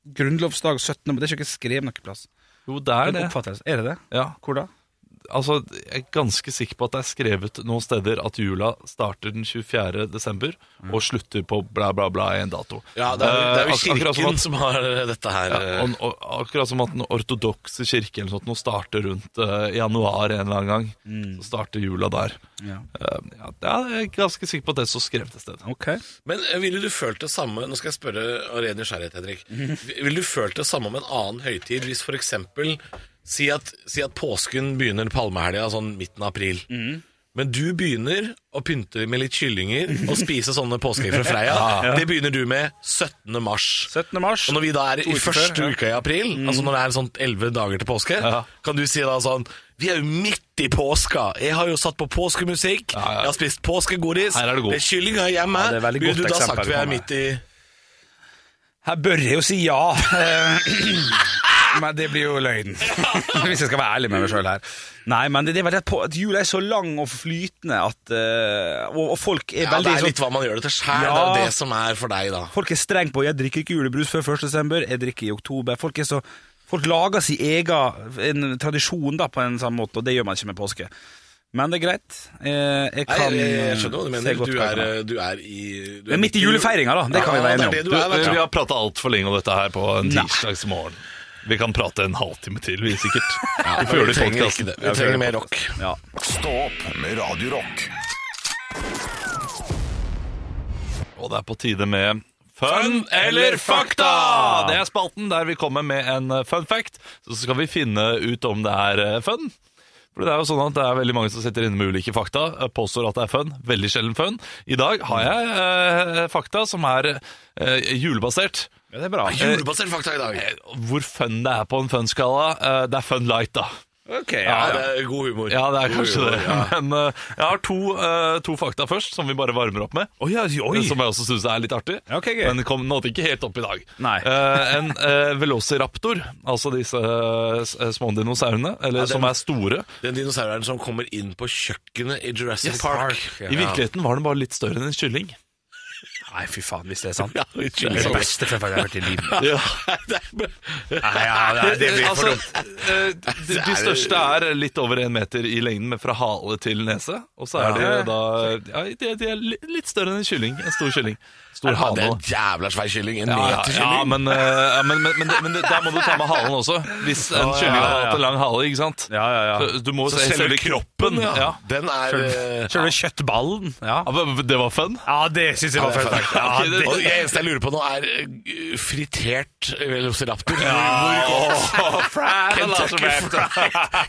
Grunnlovsdag 17. men Det er ikke noe skrevet noe plass. Jo, det er En det. oppfattelse. Er det det? Ja, Hvor da? altså, jeg er ganske sikker på at det er skrevet noen steder at jula starter den 24. desember og slutter på bla, bla, bla i en dato. Ja, det er, det er Eh, jo ak- akkurat som at- kirken som har dette her. eh, Ja, og, og, akkurat som at den ortodokse kirke eller sånt, nå starter rundt eh, januar en eller annen gang. Så starter jula der. Ja. Eh, Mm. ja, det er jeg ganske sikker på at det er så skrevet et sted. Ok. Men eh, ville du følt det samme Nå skal jeg spørre av ren nysgjerrighet, Henrik. Vi- Ville du følt det samme om en annen høytid, hvis for eksempel Si at, si at påsken begynner palmehelga sånn midten av april. Mm. Men du begynner å pynte med litt kyllinger og spise sånne påskeegg fra Freia. Det begynner du med 17. mars. 17. mars. Og når vi da er To i uker første før, ja. uka i april, altså når det er sånn 11 dager til påske, Mm. Ja. kan du si da sånn Vi er jo midt i påska! Jeg har jo satt på påskemusikk, Ja, ja. jeg har spist påskegodis, Her er det god. er kyllinga hjemme. Ja, det er veldig Ville godt du da eksempel sagt vi på er meg. midt i Her bør jeg jo si ja. Eh, Men det blir jo løgn, hvis jeg skal være ærlig med meg sjøl her. Nei, men det, det er vel det at på, at jula er så lang og flytende at eh, og, og folk er Ja, veldig det er sånn- litt hva man gjør det til sjæl. Ja. Det er jo det som er for deg, da. Folk er streng på Jeg drikker ikke julebrus før 1. desember, jeg drikker i oktober. Folk, er så, folk lager sin egen en tradisjon da, på en sånn måte, og det gjør man ikke med påske. Men det er greit. Eh, Jeg Nei, kan jeg, jeg skjønner hva du se mener. godt Du hva jeg er, eh, kan. du er i du Det er midt i julefeiringa, da. Det kan vi Ja, være det er enige det om. du er, vet du. vi har prata altfor lenge om dette her på en tirsdagsmorgen. Vi kan prate en halvtime til, vi sikkert. vi Men føler vi trenger podcasten. ikke det. Vi trenger mer rock. Ja. Stå opp med Radio Rock. Og det er på tide med Fun eller fakta! Det er spalten der vi kommer med en eh, fun fact. Så skal vi finne ut om det er eh, fun. For Det er jo sånn at det er veldig mange som sitter inne med ulike fakta, eh, påstår at det er fun. Veldig sjelden fun. I dag har jeg eh, fakta som er eh, ja, julebasert. det er Ah, bra. Julebasert Eh, fakta i dag. Eh, Hvor fun det er på en fun-skala, eh, det er fun light, da. Eh, Ok, Eh, ja, Ja, ja. det er god humor. Ja, det er God kanskje humor, det. ja. Men eh, jeg har to, eh, to fakta først, som vi bare varmer opp med. Oi, ja, oi. Som jeg også syns er litt artig. Ja, ok, gøy. Men kom, nådde ikke helt opp i dag. Nei. Eh, en eh, velociraptor, altså disse eh, s- eh, små dinosaurene, eller som er store Den dinosauren som kommer inn på kjøkkenet i Jurassic Yes, Park. Park, ja. I virkeligheten var den bare litt større enn en kylling. Nei, fy faen, hvis det er sant. Ja, det hvis det er er det sant. beste føffa jeg har hørt i livet. Ja. Nei, ja, nei, det blir Altså- for dumt. eh, de, de største er litt over én meter i lengden, men fra hale til nese. Og så er de Ja. da ja, de, de er li- litt større enn en kylling. En stor kylling. Stor Ja, det hane. er da. en jævla svær kylling. En Ja, ja, meterkylling. ja, men, eh, ja, men, men, men, men da må du ta med halen også. Hvis en kylling ja, har ja. hatt en lang hale, ikke sant? Ja, ja, ja. Så du må jo Så se selve kroppen. ja. Ja. Den er eh, Selve kjøttballen. Ja, Ja, men Det var fun. ja det syns jeg var fun fact. Ja, Ok, det, Og det eneste jeg lurer på nå, er eh, fritert eh, velociraptor. Hvor- Kentucky Fried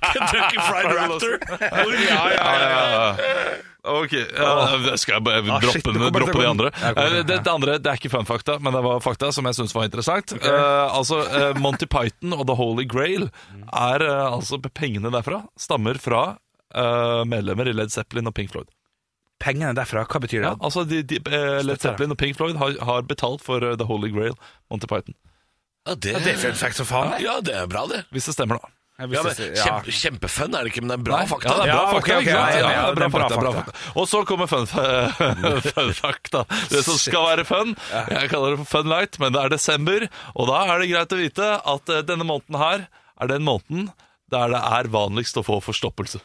Kentucky Fried Raptor. Hvor- Ja, ja, ja, ja. Ok, ja, da skal jeg bare Ah, shit, det droppe, kommer til å gå droppe de inn. andre. Ja, kom igjen. Eh, Det, det andre det er ikke fun fakta, men det var fakta som jeg syns var interessant. Eh, altså, eh, Monty Python og The Holy Grail er eh, altså Pengene derfra stammer fra eh, medlemmer i Led Zeppelin og Pink Floyd. Pengene derfra, hva betyr det? Ja, altså de, de, eh, Led Zeppelin og Pink Floyd har, har betalt for eh, The Holy Grail, Monty Python. Ja, det, Det er fun fact som faen. ja, det er bra, det. Hvis det stemmer, da. Ja, men, kjempe, kjempefun er det ikke, men det er bra Nei, fakta. Ja, det er bra Ja, fakta. ok, ok, ikke sant? ja, ja, Ja, ja, det er bra fakta, bra fakta. Og så kommer fun, fun fakta. Det som skal være fun. Jeg kaller det for fun light, men det er desember. Og da er det greit å vite at eh, denne måneden her er den måneden der det er vanligst å få forstoppelse.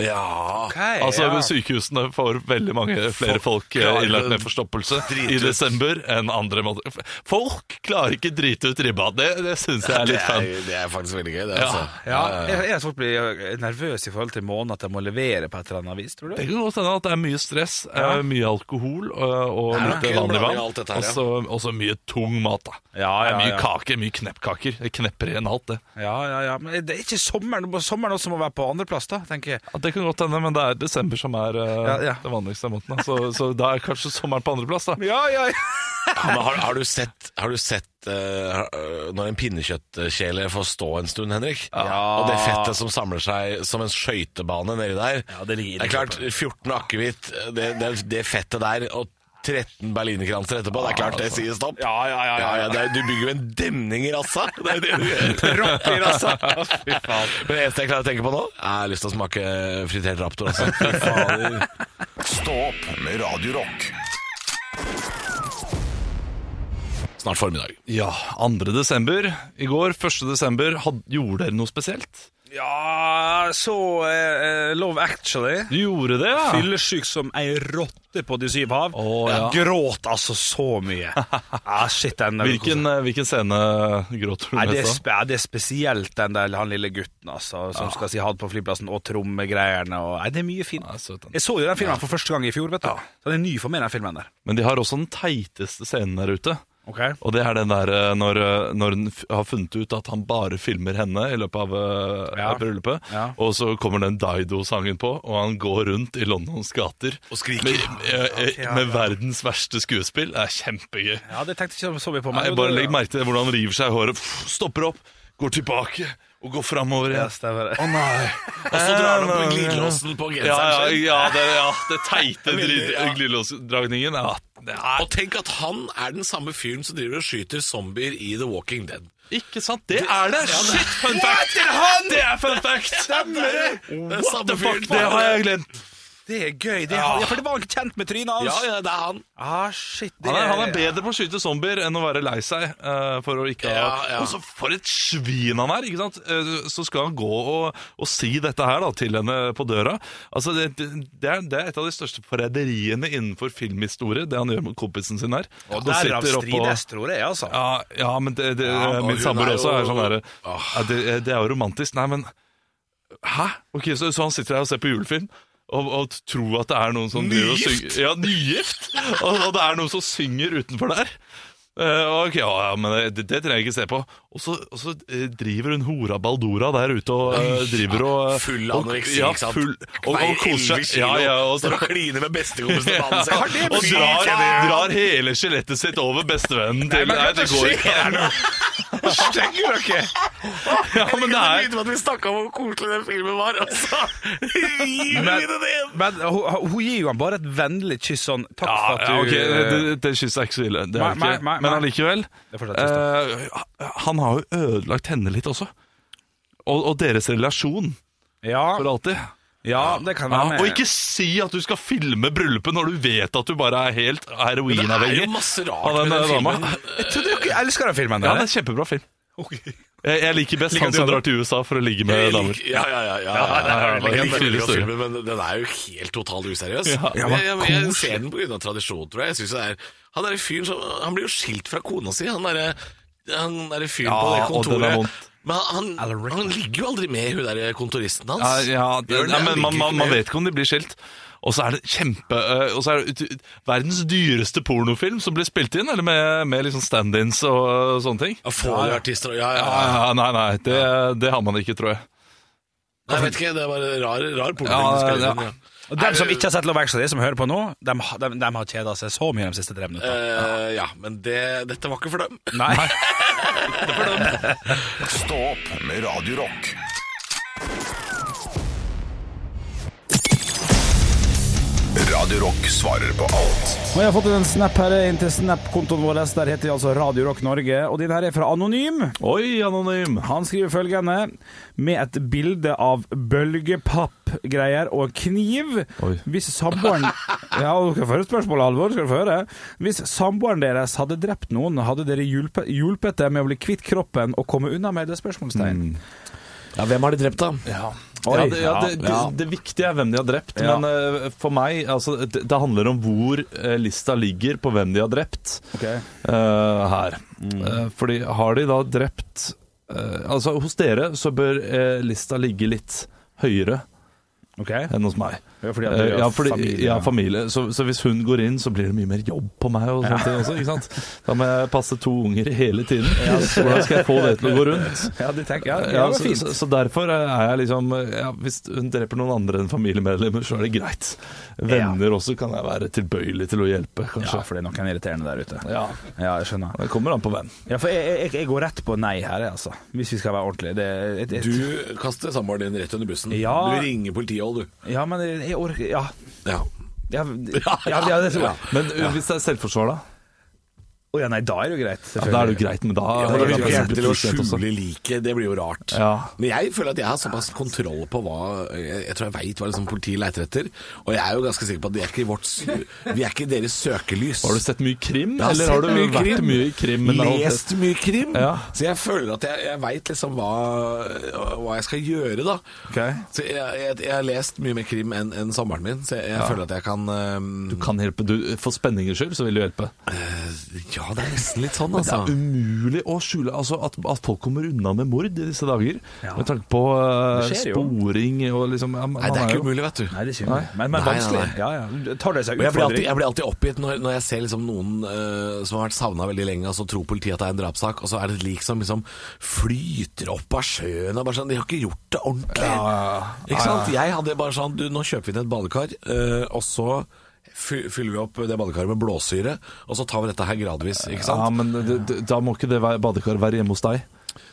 Ja, altså Sykehusene får veldig mange flere folk eh, klarer innlagt med å forstoppelse drite i ut. desember enn andre måneder. Folk klarer ikke drite ut ribba. Det, det syns jeg er det litt er, fun. det er faktisk veldig gøy, det. Ja. Altså. Ja, jeg, jeg folk blir eh, nervøse i forhold til måneden at de må levere på et eller annet vis, tror du? Det kan godt hende at det er mye stress, eh, mye alkohol og, og Det er litt nok en vanlig blanding vann. av alt dette her, Og ja. så- og så mye tung mat. da Ja, Det er ja, Mye ja. kaker, mye kneppkaker. Det knepper igjen alt, det. Ja, ja, ja, men det er ikke sommeren. det må- Sommeren også må være på andreplass, da, tenker jeg. Ja, det kan godt hende, men det er desember som er eh, Ja, ja. det vanligste av månedene. Så, så da er kanskje sommeren på andreplass, da. Ja, ja, ja. Ja, men har, har du sett, har du sett eh, har- øh, når en pinnekjøttkjele får stå en stund, Henrik? Og det fettet som samler seg som en skøytebane nedi der. det ligger det er klart, 14 akevitt, det, det, det fettet der, og 13 berlinerkranser etterpå, det er klart det sier stopp. Ja, ja, ja, ja, altså. Ja, ja, det er, du bygger jo en demning i rassa. Det er jo det du gjør. Rock i altså. rassa. Fy faen. Men det eneste jeg klarer å tenke på nå, er jeg har lyst til å smake fritert raptor. Altså. Fy fader. Stå opp med Radio Rock. Snart formiddag. Ja, 2. desember. I går, 1. desember, had, gjorde dere noe spesielt? Ja, så eh, eh, Love Actually. Du gjorde det, ja? Fyllesyk som ei rotte på De syv hav. Å, ja. Jeg gråt altså så mye. Ah, shit, den Hvilken, eh, hvilken scene gråter du Nei, det, er mest av? spe, det er spesielt den der han lille gutten altså, som skal si ha det på flyplassen, og trommegreiene. Og, nei, det er mye fint. Nei, søt den. Jeg så jo den filmen for første gang i fjor, vet du. Så den er ny for meg, den filmen der. Men de har også den teiteste scenen der ute. Ok? Og det er den der eh, når, eh, når hun f- har funnet ut at han bare filmer henne i løpet av eh, Ja. av bryllupet, Ja. og så kommer den Daido-sangen på, og han går rundt i Londons gater Og skriker. med, eh, eh, ja, med ja. verdens verste skuespill. Det er kjempegøy. Ja, det tenkte ikke så vi på Nei, meg. jeg bare legg merke til hvordan han river seg i håret, pff, stopper opp, går tilbake og går framover Ja, igjen. stemmer det. Å nei! Og så drar du på glidelåsen på Ja, ja, genseren. sin. ja, det, ja, det teite Veldig, dri- ja. glidelåsdragningen. Ja, det Og er tenk at han er den samme fyren som driver og skyter zombier i The Walking Dead. ikke sant? Det er det! Shit, fun fact! Det er fun fact! Den What samme the fuck, fyren. det har jeg glemt Det er gøy. Det er, ja. for det var ikke kjent med trynet hans. Ja, ja, det er han. Ah, shit. det han er, han er bedre på å skyte zombier enn å være lei seg eh, For å ikke ha Ja, ja. Og så for et svin han er, ikke sant? Eh, så skal han gå og, og si dette her da, til henne på døra Altså, det, det, er, det er et av de største forræderiene innenfor filmhistorie Det han gjør med kompisen sin her Og Han derav sitter oppe og- strides, tror jeg, altså. ja, ja, men det, det, og min hun samboer er også er jo- sånn der ja, det, eh, det er jo romantisk Nei, men Hæ? Ok, så, så han sitter der og ser på julefilm og, og tror at det er noen som driver og Nygift? synger- Ja, nygift! Og, og det er noen som synger utenfor der. Eh, ok, ja, ja, men det, det trenger jeg ikke se på. Og så, og så eh, driver hun hora Baldora der ute og eh, driver og eh, Full og- anoreksi, ja, ikke sant? Full, og, Veier og koser 11 seg. kilo. Ja, ja, og Står og kliner med bestekompisen til mannen sin. og Fy drar, faen. drar hele skjelettet sitt over bestevennen til men Nei, hva det går skjer ikke. Stenger dere? Ja, men det er om at vi snakka om hvor koselig den filmen var, altså. og så gir Men, men hun, hun gir jo han bare et vennlig kyss sånn Takk ja, for at ja, du eh, ok, det, det kysset er ikke så ille. Det er Nei, det nei, ikke. nei, Men nei. allikevel Det er fortsatt trist, eh, Han har jo ødelagt henne litt også. Og, og deres relasjon Ja. for alltid. Ja, det kan Ja, være med. og ikke si at du skal filme bryllupet når du vet at du bare er helt Det er heroinavhengig. jo masse av rart med den den dama. filmen. Jeg tror dere elsker den filmen. Ja, dere. det er en kjempebra film. Jeg, jeg liker best Liker han du som den? drar til USA for å ligge med Jeg damer. liker- Ja, ja, ja. ja, ja, ja, ja, Jeg liker ja, den veldig godt, ja, ja. filmen, men den er jo helt totalt useriøs. Ja, ja, jeg, men jeg, jeg koselig. ser den pga. tradisjon, tror jeg. jeg synes det er, han derre fyren som Han blir jo skilt fra kona si, han derre han der fyren Ja, på det og den er kontoret. vondt. Men han, han, han ligger jo aldri med hun der kontoristen Ja, hans. ja, det, Gjør den ja, det? men Ligger man, man, ikke man med- vet ikke om de blir skilt. Og så er det kjempe øh, Og så er det ut- ut- verdens dyreste pornofilm som blir spilt inn, eller med, med liksom stand-ins og øh, sånne ting. Ja, Får du artister og- Ja, ja. Ja, ja. ja, nei, nei, det, det har man ikke, tror jeg. Nei, jeg vet ikke, det var en rar, rar porno. Ja, de spiller ja. inn, ja. Og dem som ikke har sett Love Actually, som hører på nå, de, har kjeda seg så mye de siste tre minuttene. Eh, ja, men det, dette var ikke for dem. Nei. Stå opp med Radio Rock. Radio Rock svarer på alt. Og jeg har fått en snap her inn til Snap-kontoen vår. Der heter de altså Radio Rock Norge. Og din her er fra Anonym. Oi, anonym! Han skriver følgende Med et bilde av bølgepappgreier og kniv Oi. Hvis samboeren Ja, du skal få høre spørsmålet, Alvor skal du få høre. Hvis samboeren deres hadde drept noen Hadde dere hjulpet, hjulpet dem med å bli kvitt kroppen Og komme unna med det spørsmålstegn Ja, Hvem har de drept, da? Oi, ja, det, ja, ja, det, det, ja. det viktige er hvem de har drept, Ja. men eh, for meg altså, det, det handler om hvor eh, lista ligger på hvem de har drept Ok. eh, her. Eh, fordi har de da drept eh, Altså, hos dere så bør eh, lista ligge litt høyere Ok enn hos meg. Ja, fordi at Eh, dere ja, har fordi, familie. ja, familie. Så, så hvis hun går inn, så blir det mye mer jobb på meg. Og sånne ting også, ikke sant? Da må jeg passe to unger hele tiden. Hvordan skal jeg få det til å gå rundt? Ja, det tenker jeg ja, Ja, det var så, fint så, så derfor er jeg liksom ja, Hvis hun dreper noen andre enn familiemedlemmer, så er det greit. Venner også kan jeg være tilbøyelig til å hjelpe, Ja, kanskje. for det er noen irriterende der ute Ja. Ja, jeg skjønner Det kommer an på hvem. Ja, for jeg, jeg, jeg går rett på nei her, altså Hvis vi skal være ordentlige det, jeg, jeg, Du kaster samboeren din rett under bussen. Ja. Du ringer politiet òg, du. Ja, men jeg, jeg orker Ja, Ja. ja, ja, ja det tror jeg Men uh, hvis det er selvforsvar, da? Å ja, nei, da er det jo greit. Ja, da er det jo greit, men da Ja, men da det er er det ikke kanskje til å litt frihet også. skjule liket, det blir jo rart. Ja. Men jeg føler at jeg har såpass kontroll på hva Jeg, jeg tror jeg veit hva liksom politiet leiter etter. Og jeg er jo ganske sikker på at de er ikke i vårt s- Vi er ikke i deres søkelys. Har du sett mye krim, Jeg har eller har du sett mye vært krim, mye i krim? men da- Lest mye krim. Ja. Så jeg føler at jeg, jeg veit liksom hva, hva jeg skal gjøre, da. Ok. Så jeg, jeg, jeg har lest mye mer krim enn enn samboeren min, så jeg, jeg føler at jeg kan ehm, Kan hjelpe. Du, for spenningens skyld så vil du hjelpe. eh, Ja, det er nesten litt sånn, Det altså. er um- umulig å skjule altså at, at folk kommer unna med mord i disse dager. Ja. Med tanke på uh, Det skjer jo. sporing og liksom ja, man Nei, det er jo- ikke umulig, vet du. Nei, det er ikke mulig. Men, men Nei, nei, vanskelig. nei. Ja, ja. Tar det seg Og jeg blir alltid, utfordring? jeg blir alltid oppgitt når, når jeg ser liksom noen eh, som har vært savna veldig lenge, og så tror politiet at det er en drapssak, og så er det et lik som liksom flyter opp av sjøen. Og bare sånn, De har ikke gjort det ordentlig. Ikke sant? Jeg hadde bare sånn Du, nå kjøper vi inn et badekar, eh, og så fy- fyller vi opp det badekaret med blåsyre, og så tar vi dette her gradvis. Ikke sant? Ja, men det, det, da må ikke det være- badekar være hjemme hos deg.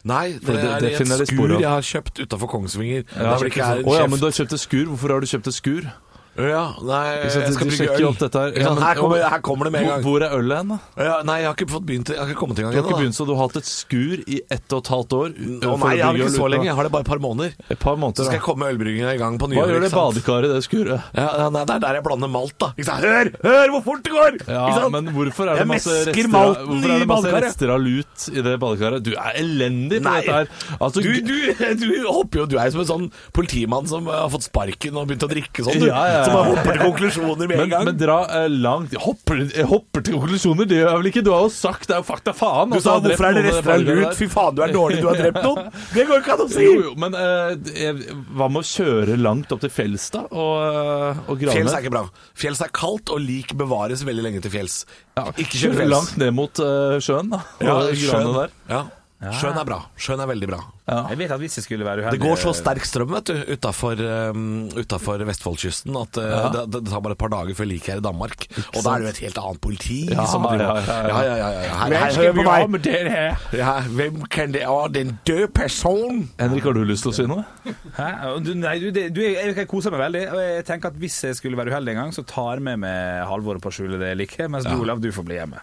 Nei, det, For det- er det i finner et de spor skur av. jeg har kjøpt utafor Kongsvinger. Ja, Å der hvor det ikke er en ja, kjeft. men du har kjøpt et skur. Hvorfor har du kjøpt et skur? ja, nei, Eh, jeg sant, skal du brygge sjekker øl. jo opp dette her. Ikke Ja, sant? men- her, kommer, her kommer det med en Hvor, gang. hvor er ølet hen? da? Ja, nei, jeg har ikke fått begynt Jeg har ikke kommet i gang Du har ikke ennå. da. begynt, så du har hatt et skur i ett og et halvt år. Å for nei, jeg å har brygge ikke øl så ut nå. lenge. Jeg har det bare et par måneder. Et par Så måneder. skal jeg Da. komme med ølbryggingen i gang på Hva nyåret. gjør det ikke sant? badekaret i det skuret? Ja, ja, nei, det er der jeg blander malt, da. Ikke sant? Hør, hør hvor fort det går! ikke Ja, sant? men hvorfor er det Jeg masse mesker rester av, malten hvorfor er i det masse badekaret. rester av lut i det badekaret? Du er elendig på Nei. dette her. Altså, Du, du, du hopper jo Du er jo som en sånn politimann som har fått sparken og begynt å drikke sånn, du. Ja, ja, ja. Som har hopper til konklusjoner med men, en gang. men dra eh, langt jeg hopper, jeg hopper til konklusjoner, det gjør jeg vel ikke? Du har jo sagt det er jo fakta faen. du altså, sa jeg har drept 'hvorfor er det noen rester av i badekaret lut'? der. Fy faen, du er dårlig, du har drept noen! Det går ikke an å si! Jo, jo, men eh, jeg- hva med å kjøre langt opp til fjells, da? Og, eh, og grave Fjells ned? er ikke bra. Fjells er kaldt, og lik bevares veldig lenge til fjells. Ja, Ikke kjør kjøre fjells. langt ned mot eh, sjøen, da. Og Ja, grave ned der. Ja. Sjøen er bra. Sjøen er veldig bra. Jeg vet at hvis jeg skulle være uheldig Det går sånn. så sterk strøm vet du, utafor, um, utafor Vestfoldkysten at uh, det, det, det tar bare et par dager før liket er i Danmark. Og da er det jo et helt annet politi Ja, som driver ja, ja, ja. ja, ja, ja, ja. Her, Hvem her, skal vi ha med den her? Ja, hvem kan det være? Den døde personen? Henrik, har du lyst til å si noe? Hæ? Du, nei, du, det- du jeg, jeg koser meg veldig. Og jeg tenker at Hvis jeg skulle være uheldig en gang, så tar jeg med meg Halvor på å skjule det liket, mens du, Olav, du får bli hjemme.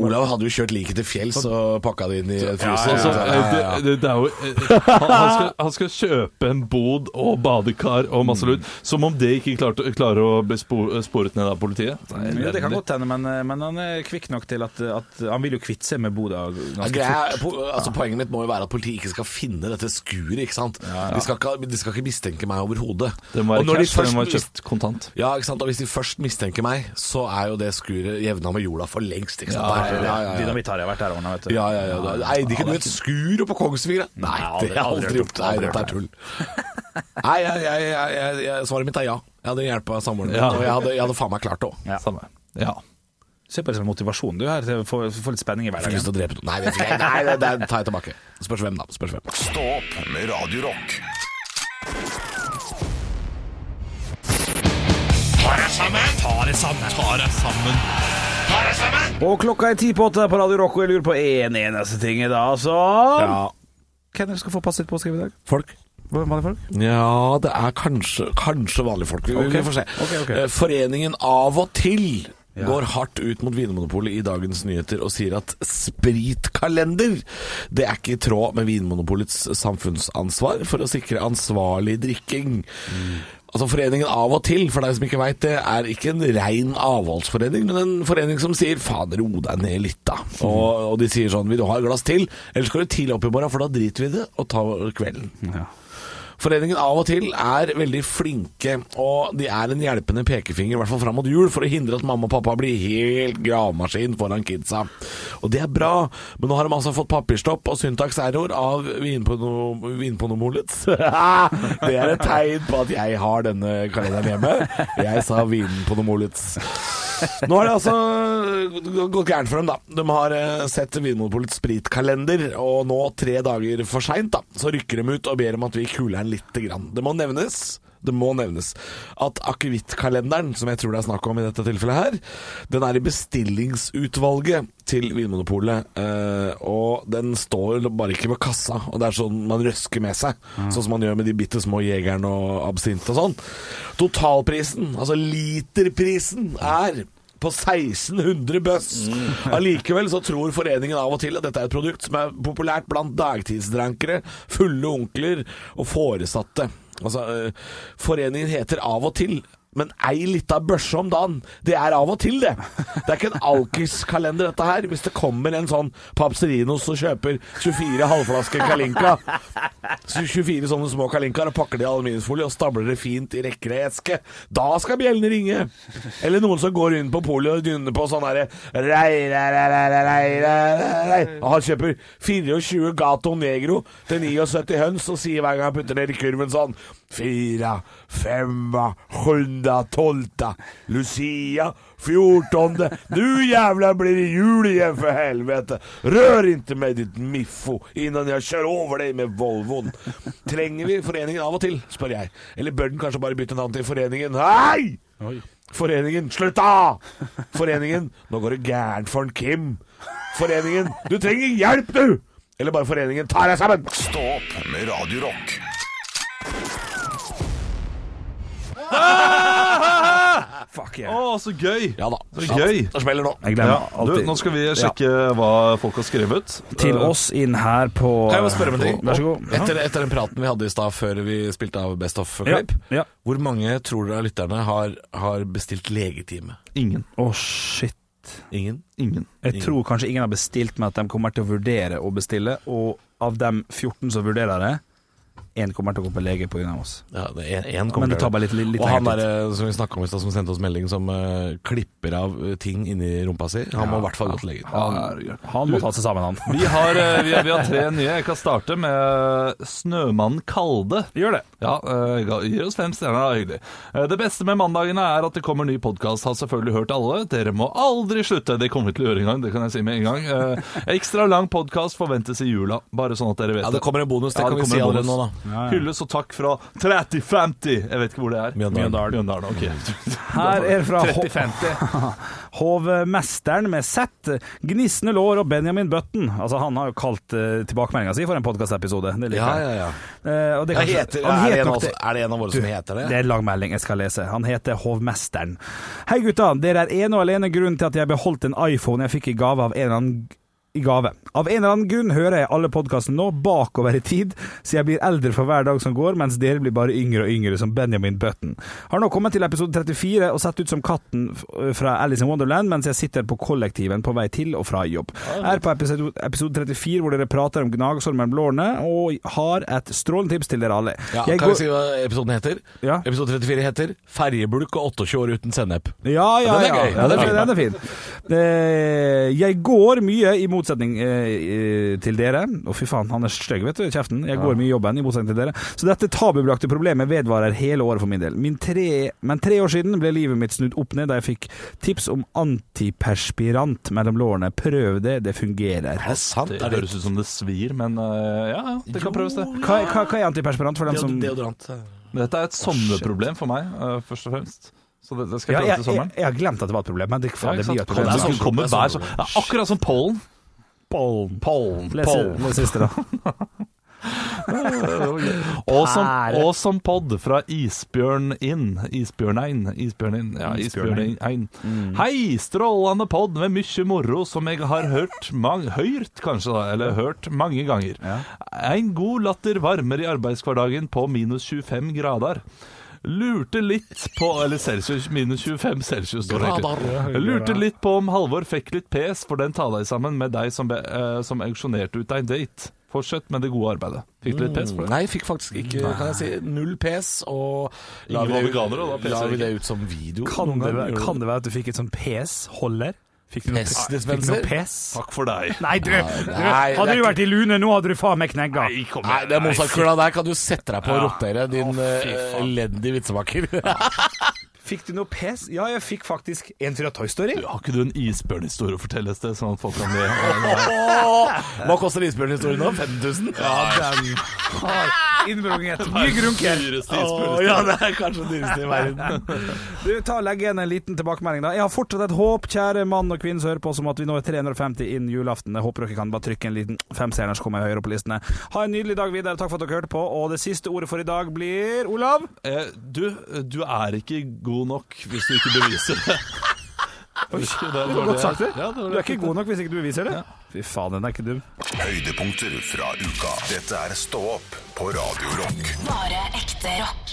Olav hadde jo kjørt liket til fjells og pakka det inn i et fryser. Altså, Ja, ja, ja. Det, det, det er jo, eh, han, han, skal, han skal kjøpe en bod og badekar og masse Mm. lut. Som om det ikke klarte, klarer å bli spor, eh, sporet ned av politiet. Det er Ja, det kan elendig. godt hende, men, men han er kvikk nok til at, at han vil jo kvitte seg med Boda ganske Greia, fort. er- po altså, Poenget mitt må jo være at politiet ikke skal finne dette skuret. ikke sant? De, skal ikke, de skal ikke mistenke meg overhodet. Det må Og være når de cash, for først den må være kjøpt kontant. Ja, ikke sant? Og hvis de først mistenker meg, så er jo det skuret jevna med jorda for lengst. ikke sant? Der- Ja, ja, ja. Dynamitt har jeg vært der ordna, vet du. Ja, ja, ja. da- Eide ikke du et skur på Kongsvinger? da? Nei, det har jeg aldri gjort. Nei, dette er tull. Nei, jeg, jeg, jeg, jeg, jeg, svaret mitt er ja. Jeg hadde hjelpa samboeren min, Ja. og jeg hadde, jeg hadde faen meg klart det òg. Ja. Samme. Ja. Se på det som en motivasjon du har til å få, få litt spenning i Fikk lyst hverdagen. til å drepe noen. Nei, det, fikk jeg- nei det, det tar jeg tilbake. Spørs hvem, da. Spørs hvem. Stå opp med Radio Rock. Og klokka er ti på åtte på Radio Rock, og jeg lurer på en eneste ting i dag, altså. så Hvem er det som skal få passet på å skrive i dag? Folk? Hvem var det folk? Ja, det er kanskje, kanskje vanlige folk. Vi, vi Ok. får se. Ok, ok. Eh, Foreningen Av og til går hardt ut mot Vinmonopolet i dagens nyheter og sier at spritkalender det er ikke i tråd med Vinmonopolets samfunnsansvar for å sikre ansvarlig drikking. Mm. Altså Foreningen Av og til, for deg som ikke veit det, er ikke en rein avholdsforening, men en forening som sier 'faen, ro deg ned litt', da. Mm. Og, og de sier sånn 'vil du ha et glass til', ellers går du tidlig opp i morgen, for da driter vi i det og tar kvelden. Foreningen av og til er veldig flinke, og de er en hjelpende pekefinger, i hvert fall fram mot jul, for å hindre at mamma og pappa blir helt gravemaskin foran kidsa. Og det er bra, men nå har de altså fått papirstopp og syntakserror av vinpono- Vinponomolets. det er et tegn på at jeg har denne kalenderen hjemme. Jeg sa Vinponomolets. Nå har det altså gått gærent for dem, da. De har eh, sett Vinmonopolets spritkalender, og nå, tre dager for seint, da, så rykker de ut og ber om at vi kuler den lite grann. Det må nevnes. Det må nevnes at akevittkalenderen, som jeg tror det er snakk om i dette tilfellet her, den er i bestillingsutvalget til Vinmonopolet, eh, og den står bare ikke ved kassa, og det er sånn man røsker med seg, sånn som man gjør med de bitte små jegerne og absint og sånn. Totalprisen, altså literprisen, er på 1600 bøss. Allikevel så tror foreningen av og til at dette er et produkt som er populært blant dagtidsdrankere, fulle onkler og foresatte. Altså, eh, foreningen heter av og til. Men ei lita børse om dagen, det er av og til, det. Det er ikke en alkiskalender, dette her. Hvis det kommer en sånn Papserinos og kjøper 24 halvflasker Kalinka, så 24 sånne små kalinkaer og pakker det i aluminiumsfolie og stabler det fint i rekker og eske. Da skal bjellene ringe! Eller noen som går inn på polet og dynner på sånn herre rei, rei, rei, rei, rei, rei, rei, rei. Og han kjøper 24 Gato Negro til 79 høns og sier hver gang han putter ned i kurven sånn Fire, femma, sjunda, tolvta, Lucia, fjortonde Nu jävlar blir det jul igjen for helvete Rør inte meg ditt miffo Innan jeg kjører over deg med Volvoen Trenger vi foreningen av og til, spør jeg Eller bør den kanskje bare bytte navn til foreningen Hei! Foreningen, slutt da! Foreningen, nå går det gærent for en Kim Foreningen, du trenger hjelp du! Eller bare foreningen, ta deg sammen Stå opp med Radio Rock. Fuck Å, yeah. så gøy! Ja da, Så gøy. Det smeller nå Jeg Ja, glemmer du, alltid. nå skal vi sjekke hva folk har skrevet. Til Eh, oss inn her på Kan jeg bare spørre om en ting? Vær så god. Etter, etter den praten vi hadde i stad før vi spilte av Best of-klipp, Ja, ja. hvor mange tror dere av lytterne har, har bestilt legetime? Ingen. Å, shit. Ingen? Ingen. Jeg tror kanskje ingen har bestilt, men at de kommer til å vurdere å bestille. Og av de 14 som vurderer det, én kommer til å gå på lege pga. oss. Ja, det er en Men kommer det tar til bare litt, litt, litt Og han lengre tid. der, eh, som vi snakket om i stad, som sendte oss melding, som eh, klipper av eh, ting inni rumpa si, han må i hvert fall gå til legen. Han, han må ta seg sammen, han. Vi har, eh, vi, har, vi har tre nye. Jeg kan starte med eh, Snømannen Kalde. Gjør det. Ja, eh, ga- gir oss fem stjerner, da. Hyggelig. Eh, Det beste med mandagene er at det kommer ny podkast. Har selvfølgelig hørt alle. Dere må aldri slutte. Det kommer vi til å gjøre en gang, det kan jeg si med en gang. Eh, Ekstra lang podkast forventes i jula, bare sånn at dere vet Ja, det kommer en bonus, det Ja, kan vi kommer si en allerede bonus. nå, da. Ja, ja. Hylles og takk fra 3050. Jeg vet ikke hvor det er. Mjøndalen. Mjøndalen, ok. Her er fra Ho- Hovmesteren med Z. Gnissende lår og Benjamin Button. Altså, han har jo kalt uh, tilbakemeldinga si for en podkastepisode. Det liker Ja, jeg. ja, ja. Eh, og det Ja, kanskje- heter, han er, het det en nok av, oss- er det en av våre som heter det? Det er en lang melding jeg skal lese. Han heter Hovmesteren. Hei gutta, dere er ene og alene grunnen til at jeg beholdt en iPhone jeg fikk i gave av en eller annen i gave. Av en eller annen grunn hører jeg alle podkastene nå bakover i tid, så jeg blir eldre for hver dag som går, mens dere blir bare yngre og yngre, som Benjamin Button. Har nå kommet til episode 34 og sett ut som katten f- øh, fra Alice in Wonderland mens jeg sitter på kollektiven på vei til og fra jobb. Er på episode, episode 34 hvor dere prater om gnagsormen blårene, og har et strålende tips til dere alle. Ja, Jeg kan går- vi si hva episoden heter? Ja. Episode 34 heter 'Ferjebulk og 28 år uten sennep'. Ja, ja, Den er ja. gøy. ja den, er, fin. den er fin. Eh, Jeg går mye, i motsetning eh, eh, til dere Å, fy faen, han er stygg, vet du, i kjeften. Jeg går mye i jobben, i motsetning til dere. Så dette tabubelagte problemet vedvarer hele året for min del. Min tre, men tre år siden ble livet mitt snudd opp ned da jeg fikk tips om antiperspirant mellom lårene. Prøv det, det fungerer. Er det sant? Det Er det, høres ut som det svir, men eh, ja, ja, det kan prøves, det. Hva, hva, hva er antiperspirant for dem som Deodorant. Men dette er et sommerproblem for meg, eh, først og fremst. Så det, det skal ja, jeg jeg, klare til jeg, sommeren. jeg har glemt at det var et problem, men det, Ja, faen, ikke det blir jo sant? et problem. sommer- det da. Det er sånn- kommer er hver sommer- sommer. Det er akkurat som pollen. Pollen, pollen, Les, pollen. les siste, da. Og som, Pære. og som pod fra Isbjørn Inn. Isbjørnein. Isbjørnein. Ja, Isbjørnein. Isbjørnein. Hei, strålende pod med mye moro som jeg har hørt mang, Hørt, kanskje, da. Eller hørt mange ganger. En god latter varmer i arbeidshverdagen på minus 25 grader. Lurte litt på Eller celsius, minus 25 celsius, står det egentlig. Lurte litt på om Halvor fikk litt pes for den ta deg sammen med deg som, be, eh, som auksjonerte ut en date. Fortsett med det gode arbeidet. Fikk du litt pes for det? Nei, fikk faktisk ikke kan jeg si, null pes. Og la Ingen vi, var det, veganer, og da ut- peser la vi det det ut som video. Kan noen det, gang? være- kan det være at du fikk et sånn PS-holder? Fikk du noe pes? Fikk du Pes-dispenser? noe pes? Takk for deg. Nei, du, du nei, Hadde det du er vært i Lune nå, hadde du faen meg knegga. Nei, det er Mozart-kula der kan du sette deg på og rotere, din eh, elendige vitsemaker. Fikk du noe pes? Ja, jeg fikk faktisk en fra Toy Story. Har ikke du en isbjørnhistorie å fortelle et sted? Sånn at folk kan bli Hva koster isbjørnhistorien nå? 5000? Ja, den Innbrunget. Mye grunker. Å, ja, det er kanskje den dyreste i verden. Du, ta og Legg igjen en liten tilbakemelding, da. Jeg har fortsatt et håp, kjære mann og kvinne som hører på, som at vi når 350 innen julaften. Jeg håper dere kan bare trykke en liten femstjerner, så kommer jeg høyere på listene. Ha en nydelig dag videre. Takk for at dere hørte på. Og det siste ordet for i dag blir Olav. Eh, du, du er ikke god nok hvis du ikke beviser det. Oi, det var det- Godt sagt, det. Ja, det var Du er ikke god nok hvis ikke du beviser det. Fy faen, den er ikke dum. Høydepunkter fra uka. Dette er Stå opp på Radio Rock. Bare ekte rock.